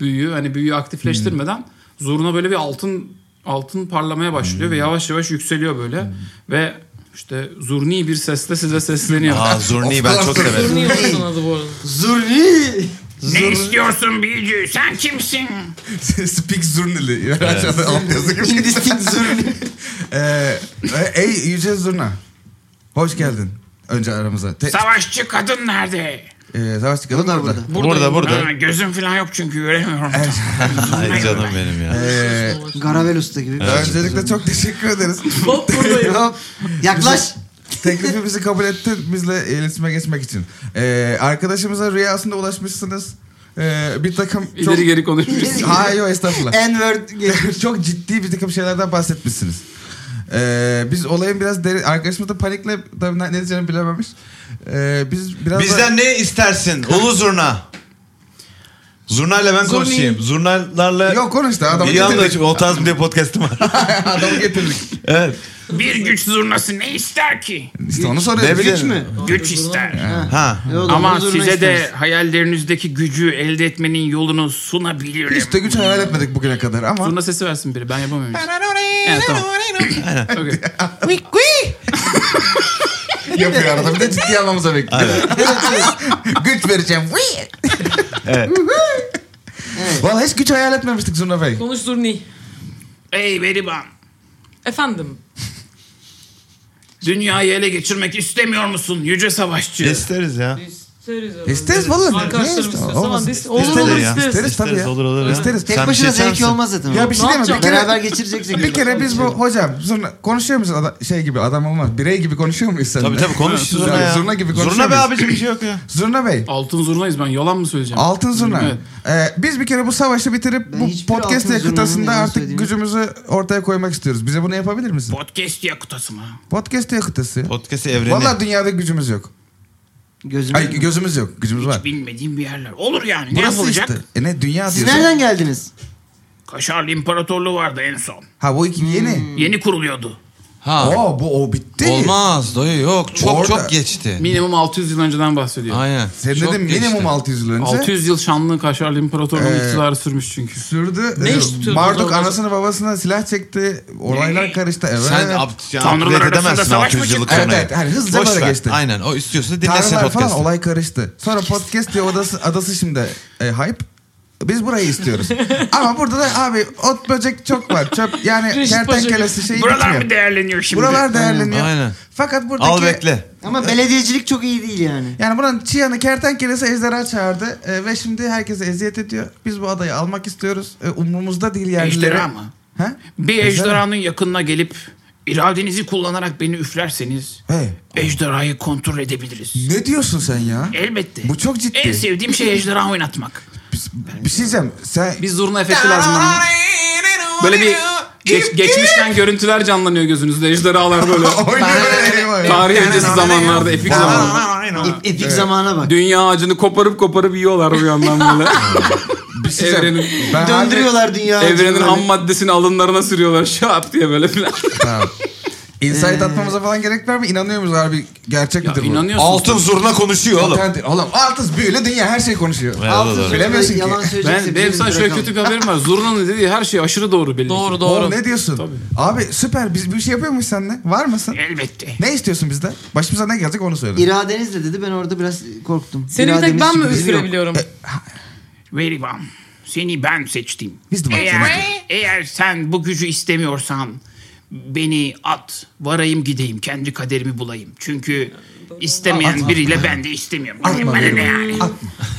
S1: büyüyü hani büyüyü aktifleştirmeden zurna böyle bir altın altın parlamaya başlıyor ve yavaş yavaş yükseliyor böyle ve işte zurni bir sesle size sesleniyor.
S6: Aa Zurni'yi ben çok severim.
S2: Turnuyor musun adı bu arada?
S3: Zurni.
S1: ne istiyorsun büyücü? Sen kimsin?
S4: Speak Zurnili. Aşağıda altyazı gibi.
S3: Hindistik Zurni.
S4: Ee, e- ey Yüce Zurna. Hoş geldin. Önce aramıza. Te-
S1: Savaşçı kadın nerede?
S4: ee, savaş çıkalım
S3: Burada,
S4: burada.
S3: burada.
S6: Burada burada.
S1: Ha, gözüm falan yok çünkü göremiyorum.
S6: Ay canım benim ya.
S4: Ee,
S3: Garavel Usta gibi. bir şey.
S4: öncelikle çok teşekkür ederiz.
S2: Hop buradayım.
S3: Hop. Yaklaş.
S4: Teklifimizi kabul ettin bizle iletişime geçmek için. Ee, arkadaşımıza rüyasında ulaşmışsınız. Ee, bir takım çok...
S1: İleri geri konuşmuşuz.
S4: Hayır yok estağfurullah.
S3: N-word.
S4: çok ciddi bir takım şeylerden bahsetmişsiniz. Ee, biz olayın biraz derin... Arkadaşımız da panikle tabii ne ne diyeceğini bilememiş. Ee, biz biraz da-
S6: Bizden ne istersin? Ulu zurna. Zurnayla ben konuşayım. Zurnalarla...
S4: Yok konuştu adamı
S6: Bir
S4: getirdik.
S6: anda o tarz bir podcast'ım var.
S4: adamı getirdik.
S6: evet.
S1: bir güç zurnası ne ister ki?
S4: İşte onu soruyoruz.
S6: Ne
S3: Güç
S6: bileyim.
S3: mü?
S1: Güç ister.
S6: Ha.
S3: E oğlum,
S1: Ama
S3: bu zurna
S1: size de
S3: istersin.
S1: hayallerinizdeki gücü elde etmenin yolunu sunabilirim.
S4: Hiç de güç hayal etmedik bugüne kadar ama.
S1: Zurna sesi versin biri. Ben yapamıyorum. hiç. evet, tamam. Okey.
S4: Yapıyor arada bir de ciddi almamıza bekliyor. güç vereceğim.
S6: Evet.
S4: Vallahi hiç güç hayal etmemiştik Zurna Bey.
S2: Konuş Zurni.
S1: Ey Beriban.
S2: Efendim.
S1: Dünyayı ele geçirmek istemiyor musun yüce savaşçı?
S6: İsteriz ya.
S2: İsteriz herhalde.
S4: İsteriz vallahi.
S2: Arkadaşlarım
S4: Ne
S2: istiyorsa
S4: Olmaz.
S2: aman da iste- Olur
S6: İsteriz
S2: olur
S6: ya.
S2: isteriz.
S4: İsteriz tabii
S6: İsteriz
S4: ya.
S6: olur olur. ya.
S4: İsteriz.
S6: Sen
S3: Tek
S6: bir
S3: başına
S6: şey
S3: zevki
S6: misin?
S3: olmaz zaten.
S4: Ya bir şey
S2: Ne
S4: diyeyim mi? Bir
S2: yapacağım?
S4: kere,
S3: Beraber geçireceksek.
S4: bir kere biz bu hocam Zurna konuşuyor muyuz? Ada- şey gibi adam olmaz. Birey gibi konuşuyor muyuz seninle?
S6: Tabii tabii konuş Zurna
S4: Zurna
S6: ya.
S4: gibi
S6: Zurna
S4: konuşuyor
S6: be
S4: muyuz?
S6: abicim bir şey yok ya.
S4: Zurna Bey.
S1: Altın zurnayız ben yalan mı söyleyeceğim?
S4: Altın zurna.
S1: Evet.
S4: Ee, biz bir kere bu savaşı bitirip
S3: Ben
S4: bu
S3: hiçbir altın
S4: podcast
S3: zurnanın
S4: yakıtasında
S3: yalan
S4: artık
S3: söylediğini-
S4: gücümüzü ortaya koymak istiyoruz. Bize bunu yapabilir misin?
S1: Podcast yakutası mı?
S4: Podcast yakıtası.
S6: Podcast'i evreni.
S4: Vallahi dünyada gücümüz yok.
S3: Gözümü...
S4: Ay gözümüz yok. Gücümüz var.
S1: Bilmediğim bir yerler. Olur yani. ne
S4: Burası
S1: yapılacak?
S4: işte. E ne dünya
S3: Siz
S4: diyorsun?
S3: nereden geldiniz?
S1: Kaşarlı İmparatorluğu vardı en son.
S4: Ha bu iki yeni.
S1: Yeni kuruluyordu.
S5: Ha.
S4: Oo bu o bitti.
S5: Olmaz dayı yok. Çok
S4: Orada-
S5: çok geçti.
S1: Minimum 600 yıl önceden bahsediyor.
S5: Aynen.
S4: Sen
S5: Çok
S4: dedim
S5: geçti.
S4: minimum 600 yıl önce.
S1: 600 yıl Şanlı Kaşarlı İmparatorluğu'nun
S4: Ee,
S1: iktidarı sürmüş çünkü.
S4: Sürdü.
S2: Ne
S4: Ee,
S2: iş tutuyordu
S4: Marduk
S2: orada?
S4: anasını babasına silah çekti. Olaylar karıştı. Evet.
S6: Sen apt yani
S1: Tanrılar
S6: upgrade
S1: arasında
S6: edemezsin
S1: savaş mı
S6: 600 yıllık
S4: çıktı?
S6: konuyu.
S4: Evet, evet, hani hızlıca
S6: Boş
S4: böyle
S6: ver.
S4: geçti.
S5: Aynen o istiyorsa dinlesin
S4: Tanrılar falan
S5: podcast'ı.
S4: olay karıştı. Sonra podcast diye odası, adası şimdi e, hype. Biz burayı istiyoruz. Ama burada da abi ot böcek çok var. Çöp yani
S2: Reşit
S4: kertenkelesi şey
S1: Buralar mı
S4: bitmiyor.
S1: değerleniyor şimdi?
S4: Buralar değerleniyor.
S5: Aynen.
S4: Fakat buradaki...
S6: Al bekle.
S3: Ama belediyecilik çok iyi değil yani.
S4: Yani buranın çıyanı kertenkelesi ejderha çağırdı. E, ve şimdi herkese eziyet ediyor. Biz bu adayı almak istiyoruz. E, umrumuzda değil yerlileri.
S1: Ejderha mı?
S4: Ha?
S1: Bir ejderhanın yakınına gelip iradenizi kullanarak beni üflerseniz
S4: Hey,
S1: ejderhayı kontrol edebiliriz.
S4: ne diyorsun sen ya?
S1: Elbette.
S4: Bu çok ciddi.
S1: En sevdiğim şey ejderha oynatmak.
S4: Biz- Bir şey diyeceğim. Sen
S1: Bir zurna efekti lazım ama. Böyle bir geç- geçmişten görüntüler canlanıyor gözünüzde. Ejderhalar böyle. Tarih öncesi zamanlarda, epik zamanlarda.
S3: Ep- epik zamana bak.
S1: Dünya ağacını koparıp koparıp yiyorlar bir yandan böyle.
S4: Bir şey diyeceğim.
S1: Evrenin-
S4: Ben
S3: Döndürüyorlar dünya.
S1: Evrenin ham maddesini alınlarına sürüyorlar şap diye böyle filan.
S4: harbi- Tamam. Insight atmamıza falan gerek var mı? İnanıyor muyuz harbi? Gerçek
S1: Ee. Ya
S4: midir bu?
S1: inanıyorsunuz.
S6: Altın zurna konuşuyor oğlum.
S4: Oğlum. Oğlum altız büyülü dünya her şey konuşuyor.
S6: Altın
S3: Altın
S4: Bilemiyorsun ki.
S3: yalan söyleyecekse
S1: Ben benim
S3: birini
S1: sana şöyle
S3: bırakalım.
S1: kötü bir haberim var. Zurna'nın dediği her şey aşırı doğru belli. ki.
S2: Doğru doğru.
S4: Oğlum ne diyorsun? Abi süper. Biz bir şey yapıyor muyuz seninle? Var mısın?
S1: Elbette.
S4: Ne istiyorsun bizden? Başımıza ne gelecek onu söyle.
S3: İradenizle dedi ben orada biraz korktum.
S2: Seni bir tek
S3: İrademiz
S2: ben mi
S3: çünkü bizim yok.
S2: üfleyebiliyorum?
S4: E,
S1: Veribam. Seni ben seçtim.
S4: Biz de
S1: eğer,
S4: bakıyoruz.
S1: eğer sen bu gücü istemiyorsan beni Ee, at. Varayım gideyim. Kendi kaderimi bulayım. Çünkü istemeyen biriyle ben de istemiyorum. Benim bana ne yani?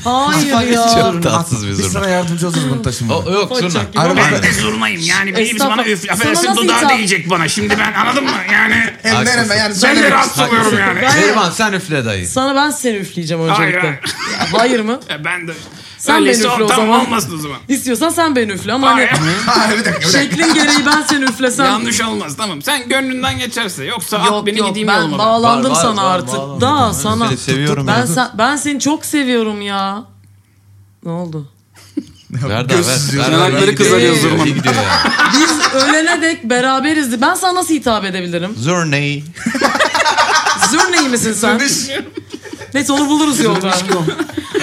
S2: Hayır ya.
S6: Çok tatsız bir
S4: Biz
S6: zurna.
S4: sana yardımcı oluruz bunu taşımada.
S5: O- yok zurna.
S2: Çok
S1: Ben
S4: Arabada.
S1: de zurnayım yani. Birimiz
S2: Estağfurullah.
S1: bana üf.
S2: Sana
S1: Affedersin
S2: nasıl
S1: dudağı
S2: hitap?
S1: değecek bana. Şimdi ben anladın mı? Yani
S4: Hem
S5: Haklısın.
S4: nereme yani
S1: E, ben de
S4: söyle.
S1: rahatsız oluyorum yani.
S5: Neriman sen üfle dayı.
S2: Sana ben seni üfleyeceğim
S1: Hayır
S2: öncelikle.
S1: hayır.
S2: Ya, Hayır mı?
S1: E, Ben de.
S2: Sen
S1: Öyleyse
S2: beni üfle
S1: o
S2: o
S1: tamam
S2: zaman.
S1: olmasın o zaman.
S2: İstiyorsan sen beni üfle ama hani
S1: Hayır.
S4: Hayır bir dakika bir dakika.
S2: şeklin gereği ben seni üflesem.
S1: Yanlış olmaz tamam. Sen gönlünden geçerse yoksa
S5: Ah,
S1: at
S2: Yok
S1: beni
S2: yok
S1: gideyim
S2: ben
S1: yoluma. ben.
S2: bağlandım
S5: Var, var,
S2: sana
S5: var,
S2: artık.
S5: bağlandım.
S2: Daha
S5: Ben
S2: sana.
S5: seni seviyorum
S2: ben,
S5: ya.
S2: sen- ben seni çok seviyorum ya. Ne oldu?
S5: Ver daha ver.
S4: Gözsüz
S5: Ver,
S4: diyor.
S5: ver,
S1: Yanakları
S5: iyi
S1: kızarıyor
S5: gidiyor,
S1: zurna.
S5: iyi gidiyor ya.
S2: Biz ölene dek beraberizdi. Ben sana nasıl hitap edebilirim?
S6: Zurney.
S2: Zürneyi misin sen? Neyse onu buluruz yolda.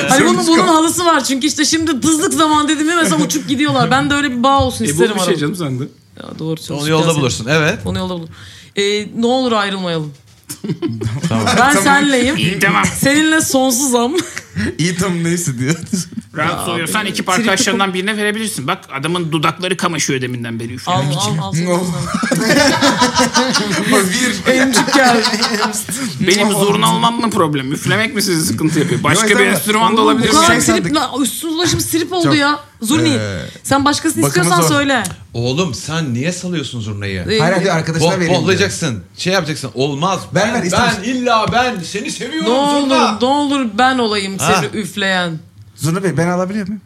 S2: hani bunun, bunun halısı var çünkü işte şimdi dızlık zaman dedim mi mesela uçup gidiyorlar. Ben de öyle bir bağ olsun
S1: E bu
S2: isterim
S1: bir şey
S2: arada.
S1: canım sende.
S2: Ya doğru söylüyorsun.
S5: Onu yolda
S2: Biraz-
S5: bulursun. Evet.
S2: Onu yolda bulur. Ee, ne olur ayrılmayalım. Ben senleyim.
S1: Tamam.
S2: Seninle sonsuz am.
S4: İyi tam neyse diyor.
S1: Rahatsız oluyorsan ekip arkadaşlarından birine verebilirsin. Bak adamın dudakları kamaşıyor deminden beri.
S2: al
S1: üflemekten.
S2: al al.
S4: No. bir.
S2: Emcik geldi.
S1: Benim zurna olmam mı problem? Üflemek mi sizi sıkıntı yapıyor? Başka
S4: Yok,
S1: bir
S4: sen-
S1: enstrüman da
S2: Bu
S1: olabilir.
S2: kadar
S4: Şey
S2: silip
S4: sandık.
S2: lan üstün ulaşım sirip oldu
S4: Çok-
S2: ya. Zurni.
S4: Ee,
S2: sen başkasını
S4: bakımı
S2: istiyorsan
S4: zor.
S2: söyle.
S5: Oğlum sen niye salıyorsun zurnayı?
S2: Ee,
S4: Hayır hayır, diyor
S5: Bo-
S4: arkadaşına vereyim. diyor.
S5: boğulacaksın. Şey yapacaksın. Olmaz.
S4: Ben-
S5: Ben,
S4: ben
S5: ben,
S4: istemez-
S5: illa ben seni seviyorum
S2: ne olur
S5: zurna.
S2: ne olur ben olayım
S5: Ha.
S2: seni üfleyen.
S4: Zurna Bey ben alabiliyor muyum?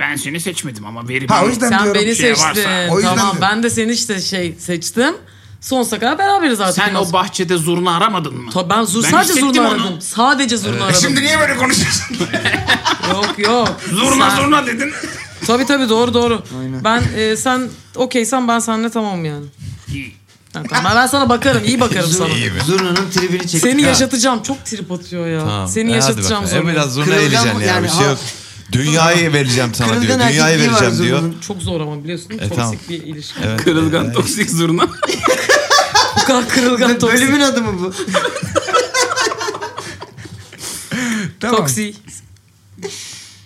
S1: Ben seni seçmedim ama
S4: Ha o
S1: verebilirim.
S4: yüzden
S2: Sen
S4: diyorum.
S2: beni
S1: şey varsa.
S2: seçtin.
S4: O yüzden
S2: tamam
S4: de-
S2: ben de seni işte şey seçtim. Sonsuza kadar beraberiz artık.
S1: Sen o bahçede zurna aramadın mı?
S2: Ta- ben zur,
S1: Ben
S2: sadece
S1: hissettim
S2: zurna
S1: onu.
S2: aradım. Sadece zurna aradım.
S4: E Şimdi niye böyle konuşuyorsun?
S2: Yok yok.
S1: Zurna
S2: Sen-
S1: zurna dedin.
S2: Tabii tabii doğru doğru. Ben e, sen okeysen ben seninle tamam yani. Ha, tamam. Ben, ben sana bakarım iyi bakarım sana.
S3: Zurna'nın tribini çektik.
S2: Seni
S3: Ha.
S2: yaşatacağım. Çok trip atıyor ya.
S5: Tamam,
S2: Seni
S5: e, hadi
S2: yaşatacağım
S5: bakalım.
S2: zurna.
S5: E, biraz zurna
S3: Kırılgan
S5: eğleceksin
S3: yani,
S5: yani. Bir şey
S3: ha.
S5: yok. Dünyayı vereceğim sana diyor.
S3: Kırılgan
S5: Dünyayı
S3: erkekliği var
S5: vereceğim diyor.
S3: Zurna'nın.
S2: Çok zor ama biliyorsun. toksik
S5: tamam.
S2: bir ilişki.
S1: Kırılgan toksik zurna.
S2: Bu kadar kırılgan toksik.
S3: Bölümün adı mı bu?
S4: tamam.
S2: Toksik.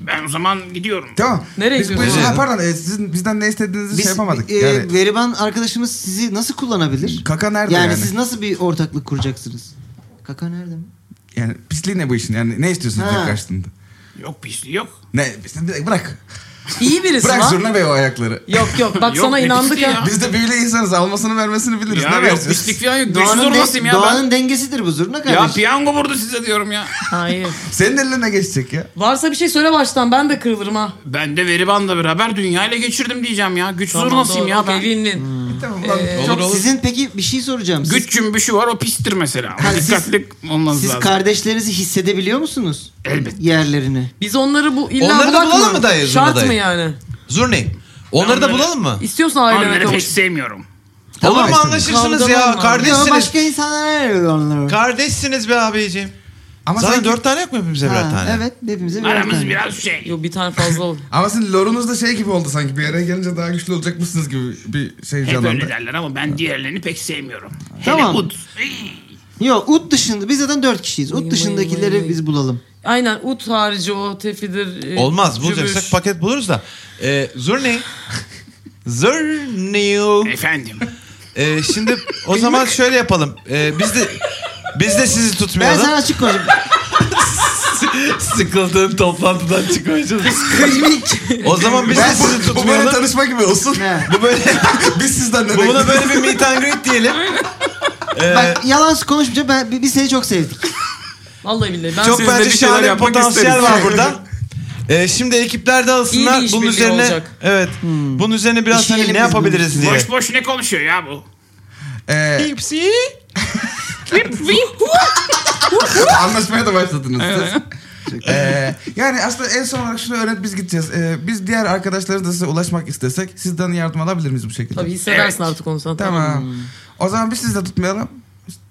S1: Ben o zaman gidiyorum.
S4: Tamam.
S2: Nereye
S4: Biz bu
S2: gidiyoruz?
S4: yüzden-
S5: Nereye?
S4: Ha, pardon e, sizin bizden ne istediğinizi
S3: Biz,
S4: şey yapamadık.
S3: e,
S4: yani,
S3: Veriban arkadaşımız sizi nasıl kullanabilir?
S4: kaka nerede
S3: Yani,
S4: yani?
S3: siz nasıl bir ortaklık kuracaksınız? Kaka nerede mi?
S4: Yani pisliği ne bu işin? Yani ne istiyorsunuz
S3: Ha.
S4: ha. karşılığında?
S1: Yok pisliği yok.
S4: Ne? Sen bir- Bırak.
S2: İyi birisi
S4: Bırak
S2: lan.
S4: Zurna Bey o ayakları.
S2: Yok yok bak
S1: Yok,
S2: sana
S1: ne
S2: inandık
S1: pisliği
S2: ya.
S1: ya.
S4: Biz de böyle insanız. Almasını vermesini biliriz.
S1: Ya
S4: ne
S1: yok
S4: vereceğiz?
S1: pislik falan yok. Dış
S3: Doğanın,
S1: zurnasıyım
S3: de-
S1: ya ben.
S3: doğanın dengesidir bu zurna
S1: Ya
S3: kardeşim.
S1: piyango vurdu size diyorum ya.
S2: Hayır.
S4: Senin eline geçecek ya.
S2: Varsa bir şey söyle baştan ben de kırılırım ha.
S1: Ben de veribanla beraber dünyayla geçirdim diyeceğim ya. Güç zurnasıyım
S2: doğru,
S1: ya
S2: okey,
S1: ben.
S2: Win win.
S4: E, Tamam lan.
S5: Olur olur.
S3: Sizin peki bir şey soracağım. Siz,
S1: Güç cümbüşü var o pistir mesela.
S3: Ha, siz-
S1: Dikkatli olmanız
S3: siz
S1: lazım.
S3: kardeşlerinizi hissedebiliyor musunuz?
S1: Elbet.
S3: Yerlerini.
S2: Biz onları bu illa
S5: Onları da
S2: bulak
S5: bulalım mı dayı,
S2: Şart
S5: Zurna
S2: mı
S5: dayı?
S2: yani?
S5: Zurni. Onları da bulalım mı?
S2: İstiyorsan
S1: Onları
S2: ailene
S1: pek
S2: konuş.
S1: sevmiyorum.
S5: Olur mu anlaşırsınız
S2: Kavgalar
S5: ya.
S2: var.
S3: Ama
S5: Kardeşsiniz.
S3: başka insanlara veriyor onları.
S5: Kardeşsiniz be abiciğim.
S4: Ama
S5: Zaten
S4: sen
S5: dört tane yok mu hepimize birer
S3: Ha,
S5: tane?
S3: Evet hepimize birer
S1: Aramız
S3: tane.
S1: biraz şey.
S2: Yok bir tane fazla oldu.
S4: Ama sizin lorunuz da şey gibi oldu sanki. Bir yere gelince daha güçlü olacakmışsınız gibi bir şey
S1: Hep öyle
S4: canlandı.
S1: derler ama ben diğerlerini pek sevmiyorum. Hele
S3: Tamam.
S1: Ud.
S3: Yok ut dışında biz zaten dört kişiyiz.
S2: Vay,
S3: Ut
S2: vay,
S3: dışındakileri
S2: vay, vay.
S3: biz bulalım.
S2: Aynen ut harici o tefidir. e,
S5: Olmaz.
S2: cübüş.
S5: Bulacaksak paket buluruz da. Ee, Zurni. Zurni.
S1: Efendim.
S5: Ee, şimdi o zaman şöyle yapalım. Ee, biz de biz de sizi
S3: Ben
S5: tutmayalım.
S3: sana açık konuşayım.
S5: Sıkıldığın toplantıdan çıkmayacağız. o zaman biz de
S4: Ben
S5: sizi
S4: bu, bu böyle
S5: tutmayalım.
S4: tanışma gibi olsun.
S3: Ne?
S5: Bu böyle
S4: Biz sizden ne
S5: bu buna böyle bir meet and greet diyelim. Ee,
S3: Bak yalan konuşmayacağım. Ben, bi- biz seni çok sevdik.
S2: Vallahi billahi. Ben
S5: çok
S1: Siz de
S5: bence
S1: bir şeyler
S5: şahane
S1: yapmak
S5: potansiyel
S1: isteriz.
S5: var burada. Ee, şimdi ekipler de
S2: İyi
S5: alsınlar.
S2: bir iş
S5: bunun
S2: birliği
S5: üzerine
S2: olacak.
S5: evet. Bunun üzerine biraz hani
S3: İşleyelim
S5: ne
S3: biz
S5: yapabiliriz diye.
S1: Boş boş ne konuşuyor ya bu?
S4: Ee,
S5: Hepsi.
S4: anlaşmaya da başladınız siz. Ee, yani aslında en son olarak şunu öğret biz gideceğiz. Ee, biz diğer arkadaşlara da size ulaşmak istesek sizden yardım alabilir miyiz bu şekilde?
S2: Tabii hissedersin
S1: Evet.
S2: artık onu sen.
S4: Tamam.
S5: Hmm.
S4: O zaman biz sizi de tutmayalım.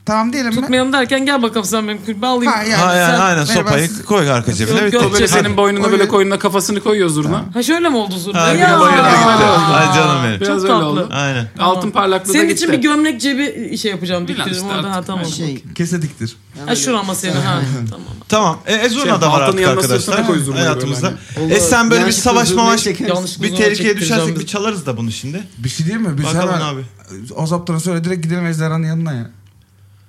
S4: Tamam diyelim mi?
S2: Tutmayalım derken gel bakalım sen benim kulübe alayım.
S4: Ha, yani.
S5: Ha, yani,
S4: Sen-
S5: aynen
S4: Merhaba,
S5: sopayı
S4: siz-
S5: koy arka cebine.
S2: Yok,
S5: bitti.
S2: yok,
S1: O böyle
S5: Hadi.
S1: senin boynuna
S4: Öyle.
S1: böyle koynuna kafasını koyuyor zurna.
S2: Ha şöyle mi oldu Zurna?
S5: Ha,
S2: ya.
S5: biraz oraya da gidelim. Ay canım benim.
S1: Biraz
S2: Çok
S1: öyle
S2: tatlı.
S1: oldu.
S5: Aynen.
S1: Altın parlaklığı da
S2: Senin
S1: gitti.
S2: için bir gömlek cebi şey yapacağım.
S1: Bilal
S2: Diktiririm
S1: işte
S2: orada ha
S1: artık.
S2: tamam.
S3: Şey,
S4: Kesediktir.
S2: Ha şurama senin ha. tamam.
S5: Tamam. E, Ezurna
S1: Şey,
S5: da var
S1: baltanın
S5: artık
S1: yanına
S5: arkadaşlar.
S1: sırtına koy zurnayı
S5: Hayatımızda.
S3: böyle hani.
S5: E sen böyle bir
S3: Yanlışlıkla
S5: savaş
S3: zurnayı
S5: mavaş
S3: çekeriz.
S2: Yanlış
S5: bir
S2: zurna
S5: tehlikeye
S2: çektireceğim
S5: düşersek
S2: biz.
S5: bir çalarız da bunu şimdi.
S4: Bir şey diyeyim mi? Biz
S5: Bakalım
S4: hemen
S5: abi.
S4: Ozaptan'a söyle direkt gidelim ejderhanın yanına ya.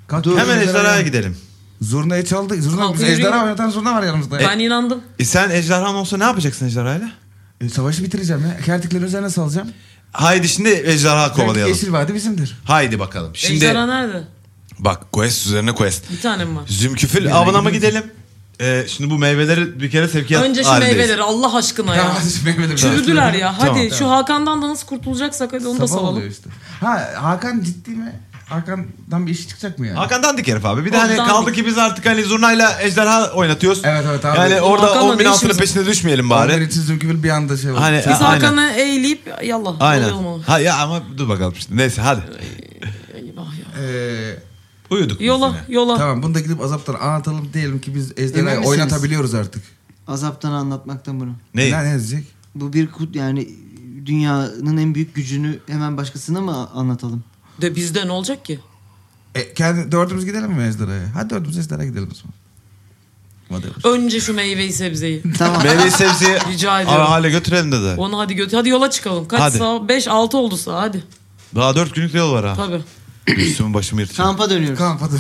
S4: Kalk,
S3: Dur.
S5: Hemen ejderhaya gidelim.
S4: Zurnayı çaldık. Zurna,
S2: Kalk,
S4: biz
S2: yürü,
S4: ejderha
S2: yürü.
S4: oynatan zurna var yanımızda. ya.
S2: Ben inandım.
S5: E sen ejderhan olsa ne yapacaksın ejderhayla?
S4: E, savaşı bitireceğim ya. Kertikleri üzerine salacağım.
S5: Haydi şimdi ejderha
S4: Kovalayalım.
S5: kovalayalım.
S4: Yeşil vadi bizimdir.
S5: Haydi bakalım. Şimdi
S2: Ejderha nerede?
S5: bak quest üzerine quest.
S2: Bir tane mi var?
S5: Zümküfül avına mı gidelim? E, şimdi bu meyveleri bir kere sevkiyat
S2: Önce şu
S5: halindeyiz.
S2: meyveleri Allah aşkına ya.
S4: Tamam hadi şimdi meyveleri
S2: Çürüdüler
S4: dağıtıyorum.
S2: ya. Hadi
S5: Tamam,
S2: şu Hakan'dan da nasıl kurtulacaksak hadi onu da
S4: Sabah
S2: salalım.
S4: oluyor işte. Ha Hakan ciddi mi? Hakan'dan bir iş çıkacak mı yani?
S5: Hakan dandik herif abi. Bir de hani
S2: Ondan-
S5: kaldı ki biz artık hani zurnayla ejderha oynatıyoruz.
S4: Evet, evet abi.
S5: Yani orada
S2: Hakan'la
S5: o
S2: ne
S5: binasının
S2: işimiz var?
S5: peşine düşmeyelim
S4: Onlar
S5: bari.
S4: için Zülküfül bir anda şey oldu.
S5: Hani
S2: Biz
S5: e, aynen.
S2: Hakan'ı eğleyip yallah
S5: Aynen.
S2: alalım onu.
S5: Ha ya ama dur bakalım işte. Neyse hadi.
S2: Eyvah ya.
S4: Ee,
S5: Uyuduk. biz
S2: Yola
S5: yine.
S2: yola.
S4: tamam bunu da gidip Azaptan'a anlatalım diyelim ki biz
S3: Emin
S4: ejderhayı
S3: misiniz?
S4: oynatabiliyoruz artık.
S3: azaptan anlatmaktan bunu.
S5: Ne?
S4: Ne, ne edecek?
S3: Bu bir kut yani dünyanın en büyük gücünü hemen başkasına mı anlatalım?
S2: De bizde ne olacak ki?
S4: E, kendi, dördümüz gidelim mi ejderhaya? Hadi dördümüz ejderhaya gidelim o zaman. Madem.
S2: Önce şu meyveyi sebzeyi.
S3: Tamam.
S5: Meyve sebzeyi
S2: Rica ediyorum.
S5: Aa, hale götürelim dedi.
S2: Onu hadi götür. Hadi yola çıkalım. Kaç
S5: Hadi. Ah.
S2: saat? 5 6 oldu saat. Hadi.
S5: Daha dört günlük yol var ha.
S2: Tabii.
S5: Üstümü başımı yırtacağım.
S3: Kampa dönüyoruz.
S4: Kamp hadi.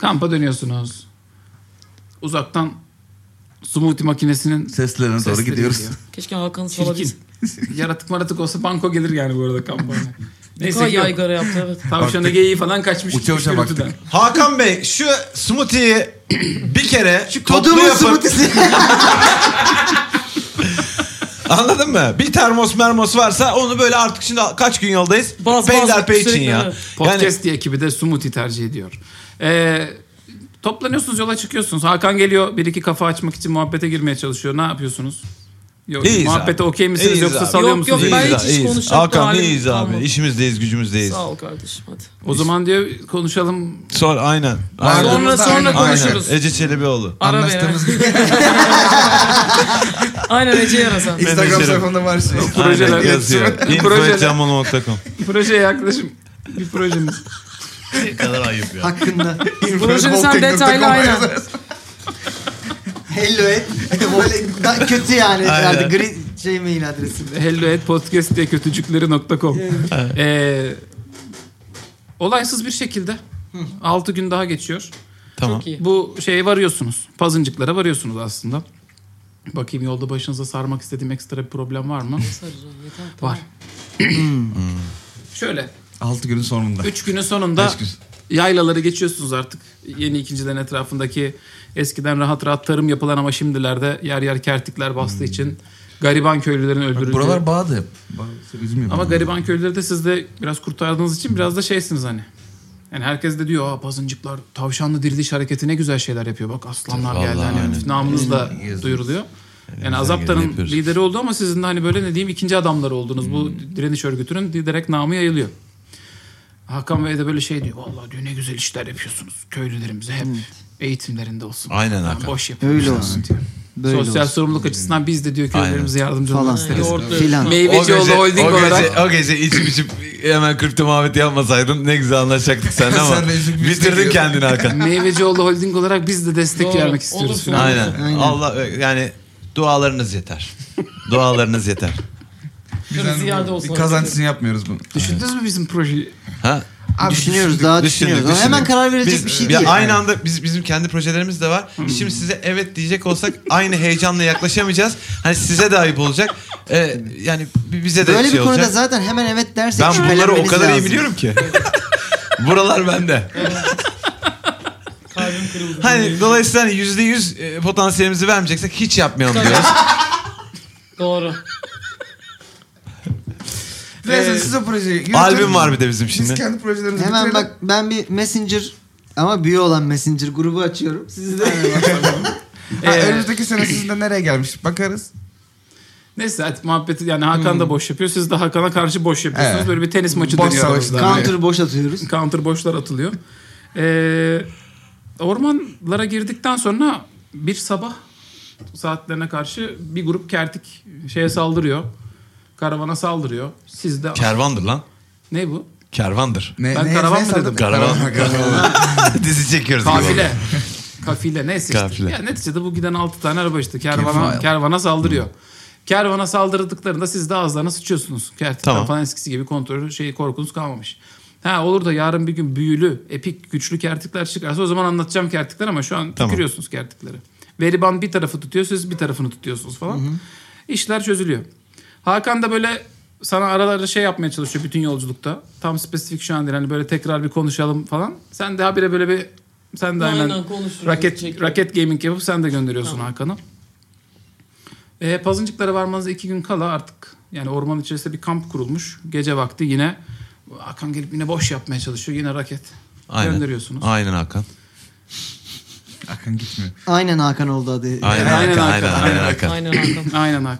S1: Kampa dönüyorsunuz. Uzaktan smoothie makinesinin
S4: Seslerine doğru
S1: sesleri
S4: gidiyoruz.
S1: geliyor.
S2: Keşke Hakan'ı salabilsin.
S1: Çirkin. yaratık maratık olsa banko gelir yani bu arada kampa.
S2: Ne
S1: Neyse
S2: kadar
S1: ki yok.
S2: yaygara yaptı evet.
S1: Tavşanı
S4: Baktık.
S1: geyiği falan kaçmış.
S4: Uça uça
S1: gürültüden.
S4: baktık.
S5: Hakan Bey şu smoothie'yi bir kere şu toplu
S3: Kodumun
S5: yapıp
S3: smoothie'si.
S5: anladın mı? Bir termos mermos varsa onu böyle artık şimdi kaç gün yoldayız?
S2: Baz, baz,
S5: Peyderpey için
S2: sürekli,
S5: ya.
S2: evet.
S1: Podcast diye ekibi de smoothie tercih ediyor. Ee, toplanıyorsunuz yola çıkıyorsunuz. Hakan geliyor bir iki kafa açmak için muhabbete girmeye çalışıyor. Ne yapıyorsunuz? Yok,
S5: İyiyiz
S1: muhabbete
S5: abi.
S1: okey misiniz
S5: İyiyiz
S1: yoksa
S5: abi.
S1: salıyor
S2: Yok,
S1: musunuz?
S2: yok,
S5: İyiyiz
S2: ben hiç
S5: ha,
S2: iş
S5: iyiyiz.
S2: konuşacak
S5: Hakan
S2: halim
S5: iyiyiz abi.
S2: kalmadı.
S5: İşimizdeyiz gücümüzdeyiz.
S2: Sağ ol kardeşim hadi.
S1: O zaman diyor konuşalım.
S5: Sonra aynen. aynen.
S4: Aynen.
S2: Sonra sonra
S4: Aynen.
S2: konuşuruz.
S5: Ece Çelebioğlu.
S2: Ara beni.
S4: Anlaştığımız gibi.
S2: Aynen Ece'yi arasan.
S4: Instagram
S5: Menajerim.
S4: sayfamda var şey.
S1: Projeler.
S5: Aynen yazıyor.
S1: Projeler.
S5: Info.camono.com
S1: Projeye yaklaşım. Bir projeniz.
S5: Ne kadar ayıp ya.
S3: Hakkında.
S2: Projeni sen detaylı aynen.
S3: Hello et. Böyle da- kötü yani. Artık gri şey mail adresi.
S1: Hello at podcast diye kötücükleri.com ee, Olaysız bir şekilde 6 gün daha geçiyor.
S5: Tamam.
S2: Çok iyi.
S1: Bu şeye varıyorsunuz. Pazıncıklara varıyorsunuz aslında. Bakayım yolda başınıza sarmak istediğim ekstra bir problem var mı?
S2: Saracağım, yeter.
S1: var. Şöyle
S4: 6 günün sonunda.
S1: 3 günün sonunda
S4: Beş gün.
S1: yaylaları geçiyorsunuz artık. Yeni ikincilerin etrafındaki eskiden rahat rahat tarım yapılan ama şimdilerde yer yer kertikler bastığı için gariban köylülerin öldürüldüğü.
S4: Hmm. Buralar bağdı hep. Bağ- Üzüm yapıyor.
S1: Ama gariban köylüleri de siz de biraz kurtardığınız için biraz da şeysiniz hani. Yani herkes de diyor aa pazıncıklar tavşanlı diriliş hareketi ne güzel şeyler yapıyor. Bak aslanlar
S5: Vallahi
S1: geldi hani
S5: aynen.
S1: namınız da
S4: Yazıyoruz.
S1: duyuruluyor. Yani
S5: Elimizden geleni
S1: Azaptan'ın
S5: yapıyoruz.
S1: lideri oldu ama sizin de hani böyle ne diyeyim ikinci adamları oldunuz. Bu
S5: Hmm.
S1: direniş örgütünün direkt namı yayılıyor. Hakan Bey de böyle şey diyor. Vallahi diyor ne güzel işler yapıyorsunuz. Köylülerimize hep eğitimlerinde olsun.
S5: Aynen
S1: Yani
S5: Hakan.
S1: boş yapın.
S3: Öyle olsun.
S1: diyor.
S3: Böyle
S1: Sosyal
S3: olsun.
S1: sorumluluk açısından biz de diyor köylülerimize yardımcı
S3: Falan.
S1: olmak isteriz.
S2: Yoğurtlu.
S3: Filan.
S5: O gece,
S1: Meyvecioğlu Holding
S5: o gece,
S1: olarak.
S5: O gece içip içip hemen kripto muhabbeti yapmasaydın ne güzel anlaşacaktık seninle ama
S4: Sen de üzüm yüzüne
S5: bitirdin
S4: giriyordun.
S5: kendini Hakan.
S1: Meyvecioğlu Holding olarak biz de destek
S2: Doğru.
S1: vermek istiyoruz
S2: Olursun.
S1: falan.
S5: Aynen. Allah yani dualarınız yeter. dualarınız yeter.
S4: Biz
S2: Ziyade
S4: yani
S2: olsun.
S4: bir kazanç için yapmıyoruz bunu.
S1: Düşündünüz mü bizim projeyi?
S5: Ha?
S3: Düşünüyoruz daha
S5: Düşündük,
S3: düşünüyoruz. Ama
S5: düşündük.
S3: hemen karar verecek
S5: Biz-
S3: bir şey
S5: ya
S3: değil. Hmm.
S5: Aynı anda biz, bizim kendi projelerimiz de var. Şimdi size evet diyecek olsak aynı heyecanla yaklaşamayacağız. Hani size de ayıp olacak. Ee, yani bi- bize de
S3: Böyle
S5: şey
S3: bir konuda
S5: olacak.
S3: zaten hemen evet dersek
S5: Ben bunları o
S3: şüphelenmeniz
S5: kadar iyi
S3: lazım.
S5: biliyorum ki. Buralar bende.
S2: Kalbim kırıldı.
S5: Hani dolayısıyla hani yüzde yüz e, potansiyelimizi vermeyeceksek hiç yapmayalım diyoruz.
S2: Doğru.
S4: Neyse siz o projeyi yürütün.
S5: Albüm var bir de bizim
S4: Biz
S5: şimdi.
S4: kendi projelerimizi
S3: Hemen
S4: bitirelim.
S3: bak ben bir Messenger ama büyü olan Messenger grubu açıyorum. Siz de
S4: Ha,
S1: Ee,
S4: önümüzdeki sene sizinle nereye gelmiş bakarız.
S1: Neyse hadi muhabbeti yani Hakan
S2: Hmm.
S1: da boş yapıyor. Siz de Hakan'a karşı boş yapıyorsunuz.
S4: Evet.
S1: Böyle bir tenis maçı
S4: Boş
S1: dönüyor.
S4: savaşlar.
S1: arada.
S3: counter boş atıyoruz.
S1: Counter boşlar atılıyor. Ee, ormanlara girdikten sonra bir sabah saatlerine karşı bir grup kertik şeye saldırıyor. Karavana saldırıyor. Siz de...
S5: Kervandır lan.
S1: ne bu?
S5: Kervandır.
S4: Ne,
S1: Ben
S4: ne-
S1: karavan
S4: ne
S1: mı
S4: sandın?
S1: dedim?
S5: Karavan. Dizi çekiyoruz. gibi oldu.
S1: Kafile. Kafile neyse işte.
S5: Kafile.
S1: Ya neticede bu giden 6 tane araba işte.
S4: Kefal.
S1: Kervana, kervana saldırıyor. Kervana saldırdıklarında siz de ağızlarına sıçıyorsunuz. Kertikten
S5: Tamam.
S1: falan eskisi gibi kontrolü şeyi korkunuz kalmamış. Ha olur da yarın bir gün büyülü, epik, güçlü kertikler çıkarsa o zaman anlatacağım kertikler ama şu an
S5: Tamam.
S1: tükürüyorsunuz kertikleri. Veriban bir tarafı tutuyor, siz bir tarafını tutuyorsunuz falan. İşler çözülüyor. Hakan da böyle sana aralarda şey yapmaya çalışıyor bütün yolculukta. Tam spesifik şu an değil. Hani böyle tekrar bir konuşalım falan. Sen de habire böyle bir sen de
S2: Aynen,
S1: aynen,
S2: konuşuyoruz,
S1: raket
S2: çekiyoruz.
S1: raket gaming yapıp sen de gönderiyorsun Hakan'ı. E, pazıncıklara varmanıza iki gün kala artık yani orman içerisinde bir kamp kurulmuş. Gece vakti yine Hakan gelip yine boş yapmaya çalışıyor. Yine raket
S5: Aynen.
S1: gönderiyorsunuz.
S5: Aynen Hakan.
S4: Akın gitmiyor.
S3: Aynen Hakan oldu adı.
S5: Aynen
S1: Aynen
S5: Hakan.
S1: Hakan, aynen
S5: Aynen Aynen Hakan.
S2: Aynen Hakan.
S1: Aynen Hakan.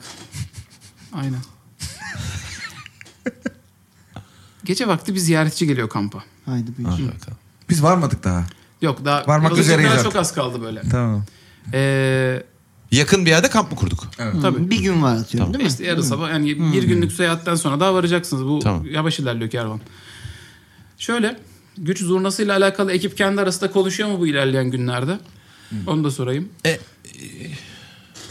S1: Aynen. Gece vakti bir ziyaretçi geliyor kampa.
S3: Haydi büyü.
S5: Aynen Hakan.
S4: Biz varmadık daha.
S1: Yok daha
S4: Varmak
S1: pazıncıklara
S4: üzereyiz
S1: çok az kaldı böyle.
S4: Tamam.
S1: Ee,
S6: Yakın bir yerde kamp mı kurduk?
S1: Tabii.
S3: Bir gün var atıyorum değil mi?
S1: İşte yarı sabah yani bir günlük seyahatten sonra daha varacaksınız. Bu
S6: Tamam.
S1: yavaş ilerliyor kervan. Şöyle güç zurnasıyla alakalı ekip kendi arasında konuşuyor mu bu ilerleyen günlerde? Onu da sorayım.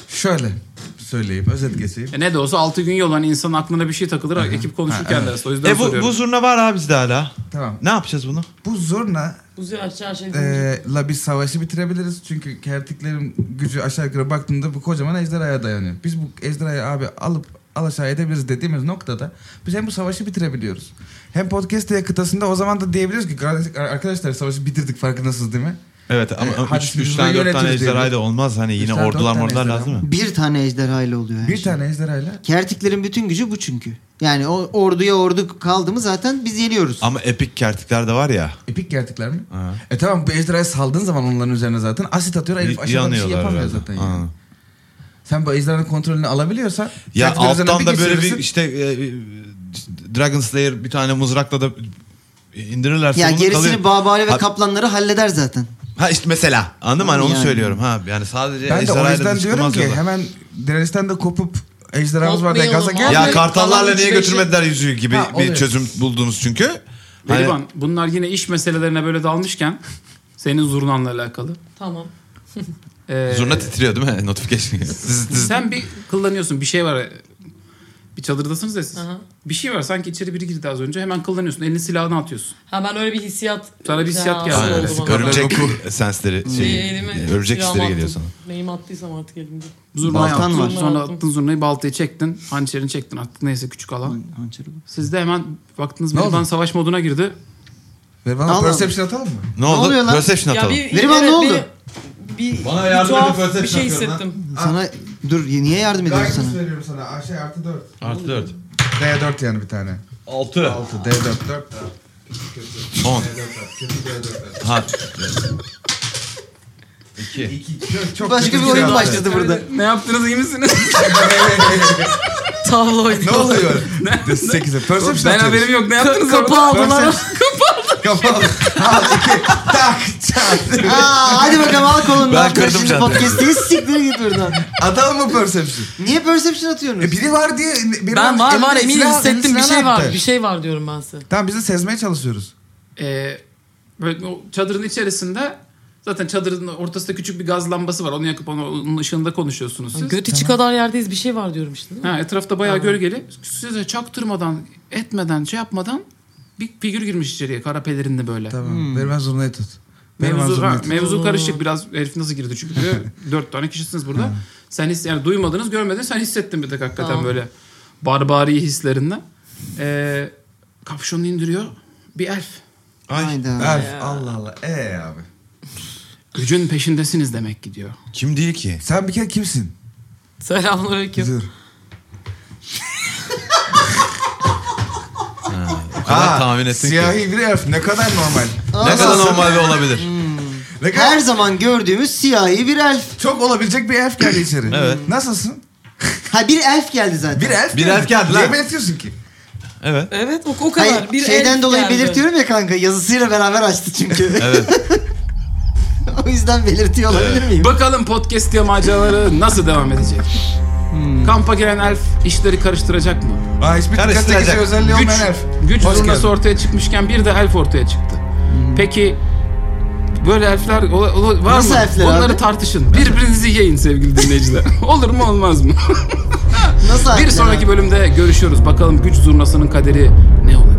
S4: Şöyle söyleyeyim özet geçeyim.
S1: E ne de olsa 6 gün yol hani insanın aklına bir şey takılır. Ekip konuşur kendi arasında. O yüzden
S6: E bu,
S1: soruyorum.
S6: bu zurna var abi bizde hala.
S4: Tamam.
S6: Ne yapacağız bunu?
S4: Bu zurna
S2: Buzu aşağı şey
S4: e, la bir savaşı bitirebiliriz. Çünkü kertiklerin gücü aşağı yukarı baktığımda bu kocaman ejderhaya dayanıyor. Biz bu ejderhayı abi alıp al aşağı edebiliriz dediğimiz noktada biz hem bu savaşı bitirebiliyoruz. Hem podcast yakıtasında o zaman da diyebiliriz ki "Kardeş- arkadaşlar savaşı bitirdik farkındasınız değil mi?
S6: Evet ama
S4: E, hadi
S6: 3
S4: biz bunu
S6: tane 4 tane
S4: yönetiriz
S6: ejderha
S4: diyelim.
S6: da olmaz. Hani
S4: Üç
S6: yine
S4: tane, dört
S6: ordular
S4: tane
S6: mordular
S4: ejderha
S6: lazım mı?
S3: Bir tane ejderhayla oluyor her
S4: Bir
S3: şey.
S4: tane ejderhayla
S3: Kertiklerin bütün gücü bu çünkü. Yani o orduya ordu kaldı mı zaten biz yeniyoruz.
S6: Ama epik kertikler de var ya.
S4: epik gerçekler mi? E tamam bu ejderhayı saldığın zaman onların üzerine zaten asit atıyor. Herif
S6: Y-
S4: aşağıdan bir şey
S6: yanıyorlar
S4: yapamıyor
S6: herhalde.
S4: zaten.
S6: Ha.
S4: Yani. Sen bu ejderhanın kontrolünü alabiliyorsan
S6: Ya
S4: kertikler üzerine
S6: alttan da böyle bir
S4: geçirirsin.
S6: işte e, e, Dragon Slayer bir tane mızrakla da indirirlerse
S3: ya
S6: onu
S3: gerisini
S6: kalıyor.
S3: babali ve
S6: Ha-
S3: kaplanları halleder zaten.
S6: Ha işte mesela. Anladın mı? Hani onu
S3: Yani.
S6: söylüyorum. Ha yani sadece
S4: Ben de o
S6: ejderhayla da
S4: yüzden diyorum
S6: çıkılmaz
S4: ki
S6: yolda.
S4: hemen dirençten de kopup ejderhamız var diye gaza
S2: Korkmayalım
S4: gel.
S2: abi.
S6: Ya
S2: Hemen
S6: kartallarla
S2: kalan
S6: niye
S2: üç beşi-
S6: götürmediler yüzüğü gibi
S4: şey- Ha,
S6: bir
S4: oluyor.
S6: çözüm buldunuz çünkü. Hani-
S1: Berivan, bunlar yine iş meselelerine böyle dalmışken senin zurnanla alakalı.
S2: Tamam.
S1: Ee,
S6: Zurna titriyor değil mi? Notification. Dız dız.
S1: sen bir kıllanıyorsun bir şey var. Bir çadırdasınız ya siz.
S2: Aha.
S1: Bir şey var sanki içeri biri girdi az önce. Hemen kıllanıyorsun. Elini silahına atıyorsun.
S2: Ha ben öyle bir hissiyat.
S1: Sana bir
S2: Ya,
S1: hissiyat geldi.
S2: nasıl
S1: Aynen.
S2: oldu bana?
S6: Örümcek sensleri
S2: Şey,
S6: şey,
S2: elime
S6: örümcek
S2: silahımı
S6: hisleri geliyor
S2: attım.
S6: sana.
S2: Neyimi attıysam artık elimde.
S1: Zurnayı
S3: Baltan
S1: attın.
S3: var.
S1: Sonra
S2: Attım.
S1: attın zurnayı baltayı çektin. Hançerini çektin attık. Neyse küçük alan.
S3: Hançeri bu.
S1: Siz de hemen baktınız
S4: Ne
S1: Berivan
S4: oldu?
S1: savaş moduna girdi.
S4: Ver bana
S3: Al
S4: perception atalım mı?
S6: Ne oldu?
S3: oluyor lan?
S6: Perception atalım.
S2: bir,
S3: Verivan ne oldu?
S2: Bir, bir,
S6: Bana
S2: bir
S6: yardım edin,
S2: tuhaf
S6: özel
S2: bir şey
S6: şampiyon lan.
S2: hissettim.
S3: Sana dur niye yardım ediyorum sana?
S4: Guidance veriyorum sana. Aa, Şey artı 4.
S6: Artı 4.
S4: D4 yani bir tane.
S6: 6.
S4: 6 D4 4.
S6: 10.
S4: Kötü D4.
S6: Ha.
S4: 2. 2. Çok, çok
S3: Başka
S4: kötü
S3: bir oyun
S4: şey
S3: başladı burada.
S1: Ne yaptınız iyi misiniz?
S2: Tavla oynadım.
S4: Ne oluyor? 8'e. Perception
S1: ben
S4: atıyoruz.
S1: haberim yok. Ne yaptınız
S2: kapı
S1: orada?
S2: aldılar.
S4: Kapalı. Al 2. Tak. Çat.
S3: Aa, hadi bakalım al kolunu.
S6: Ben kırdım
S3: Şimdi
S6: çantayı.
S3: Podcast'teyi siktir git buradan.
S4: Atalım mı perception?
S3: Niye perception atıyorsunuz?
S4: E, biri var diye. Biri
S2: Ben var var eminim
S4: silah-
S2: hissettim bir
S4: silah
S2: şey var.
S4: attı.
S2: Bir şey var diyorum ben size.
S4: Tamam biz de sezmeye çalışıyoruz.
S1: Ee, böyle o çadırın içerisinde zaten çadırın ortasında küçük bir gaz lambası var. Onu yakıp onu- onun ışığında konuşuyorsunuz siz.
S2: Göt içi kadar yerdeyiz bir şey var diyorum işte. değil mi?
S1: Ha, etrafta bayağı gölgeli. Size çaktırmadan, etmeden, şey yapmadan bir figür girmiş içeriye kara pelerinli böyle.
S4: Tamam.
S2: Hmm.
S4: Vermez zurnayı tut. Vermez
S1: Mevzu, ha,
S4: zurnayı tut.
S1: mevzu karışık biraz herif nasıl girdi çünkü diyor. dört tane kişisiniz burada. sen his, yani duymadınız görmediniz sen hissettin bir tek hakikaten
S2: Tamam.
S1: böyle barbari hislerinden. Ee, kapşonu indiriyor bir elf.
S3: Hayda.
S4: Elf Allah Allah. Ee abi.
S1: Gücün peşindesiniz demek ki diyor.
S6: Kim değil ki?
S4: Sen bir kere kimsin?
S2: Selamünaleyküm.
S4: Dur.
S6: O kadar tahmin ettim ki.
S4: Siyahi bir elf ne kadar normal.
S6: Ne kadar normal bir olabilir.
S4: Ne kadar
S3: Her zaman gördüğümüz siyahi bir elf.
S4: çok olabilecek bir elf geldi içeri.
S6: Evet.
S4: Nasılsın?
S3: Ha bir elf geldi zaten.
S4: Bir elf
S6: Bir elf geldi lan.
S4: Niye belirtiyorsun ki?
S6: Evet.
S2: Evet o, o kadar.
S3: Hayır,
S2: bir
S3: şeyden
S2: elf
S3: dolayı
S2: geldi.
S3: belirtiyorum ya kanka yazısıyla beraber açtı çünkü.
S6: Evet.
S3: o yüzden belirtiyor olabilir miyim?
S1: Bakalım podcast yamacaları nasıl devam edecek? Kampa gelen elf işleri karıştıracak mı?
S4: Aa hiçbir dikkat
S6: Karıştıracak.
S4: çekici özelliği
S1: Güç,
S4: olmayan elf.
S1: güç
S4: Hoş
S1: zurnası
S4: geldin.
S1: ortaya çıkmışken bir de elf ortaya çıktı. Peki böyle elfler ola- ola- var
S3: Nasıl
S1: mı?
S3: elfler
S1: Onları
S3: abi?
S1: tartışın. Birbirinizi yiyin sevgili dinleyiciler. Olur mu olmaz mı?
S3: Nasıl
S1: bir
S3: elfler
S1: sonraki
S3: abi?
S1: bölümde görüşüyoruz. Bakalım güç zurnasının kaderi ne olacak?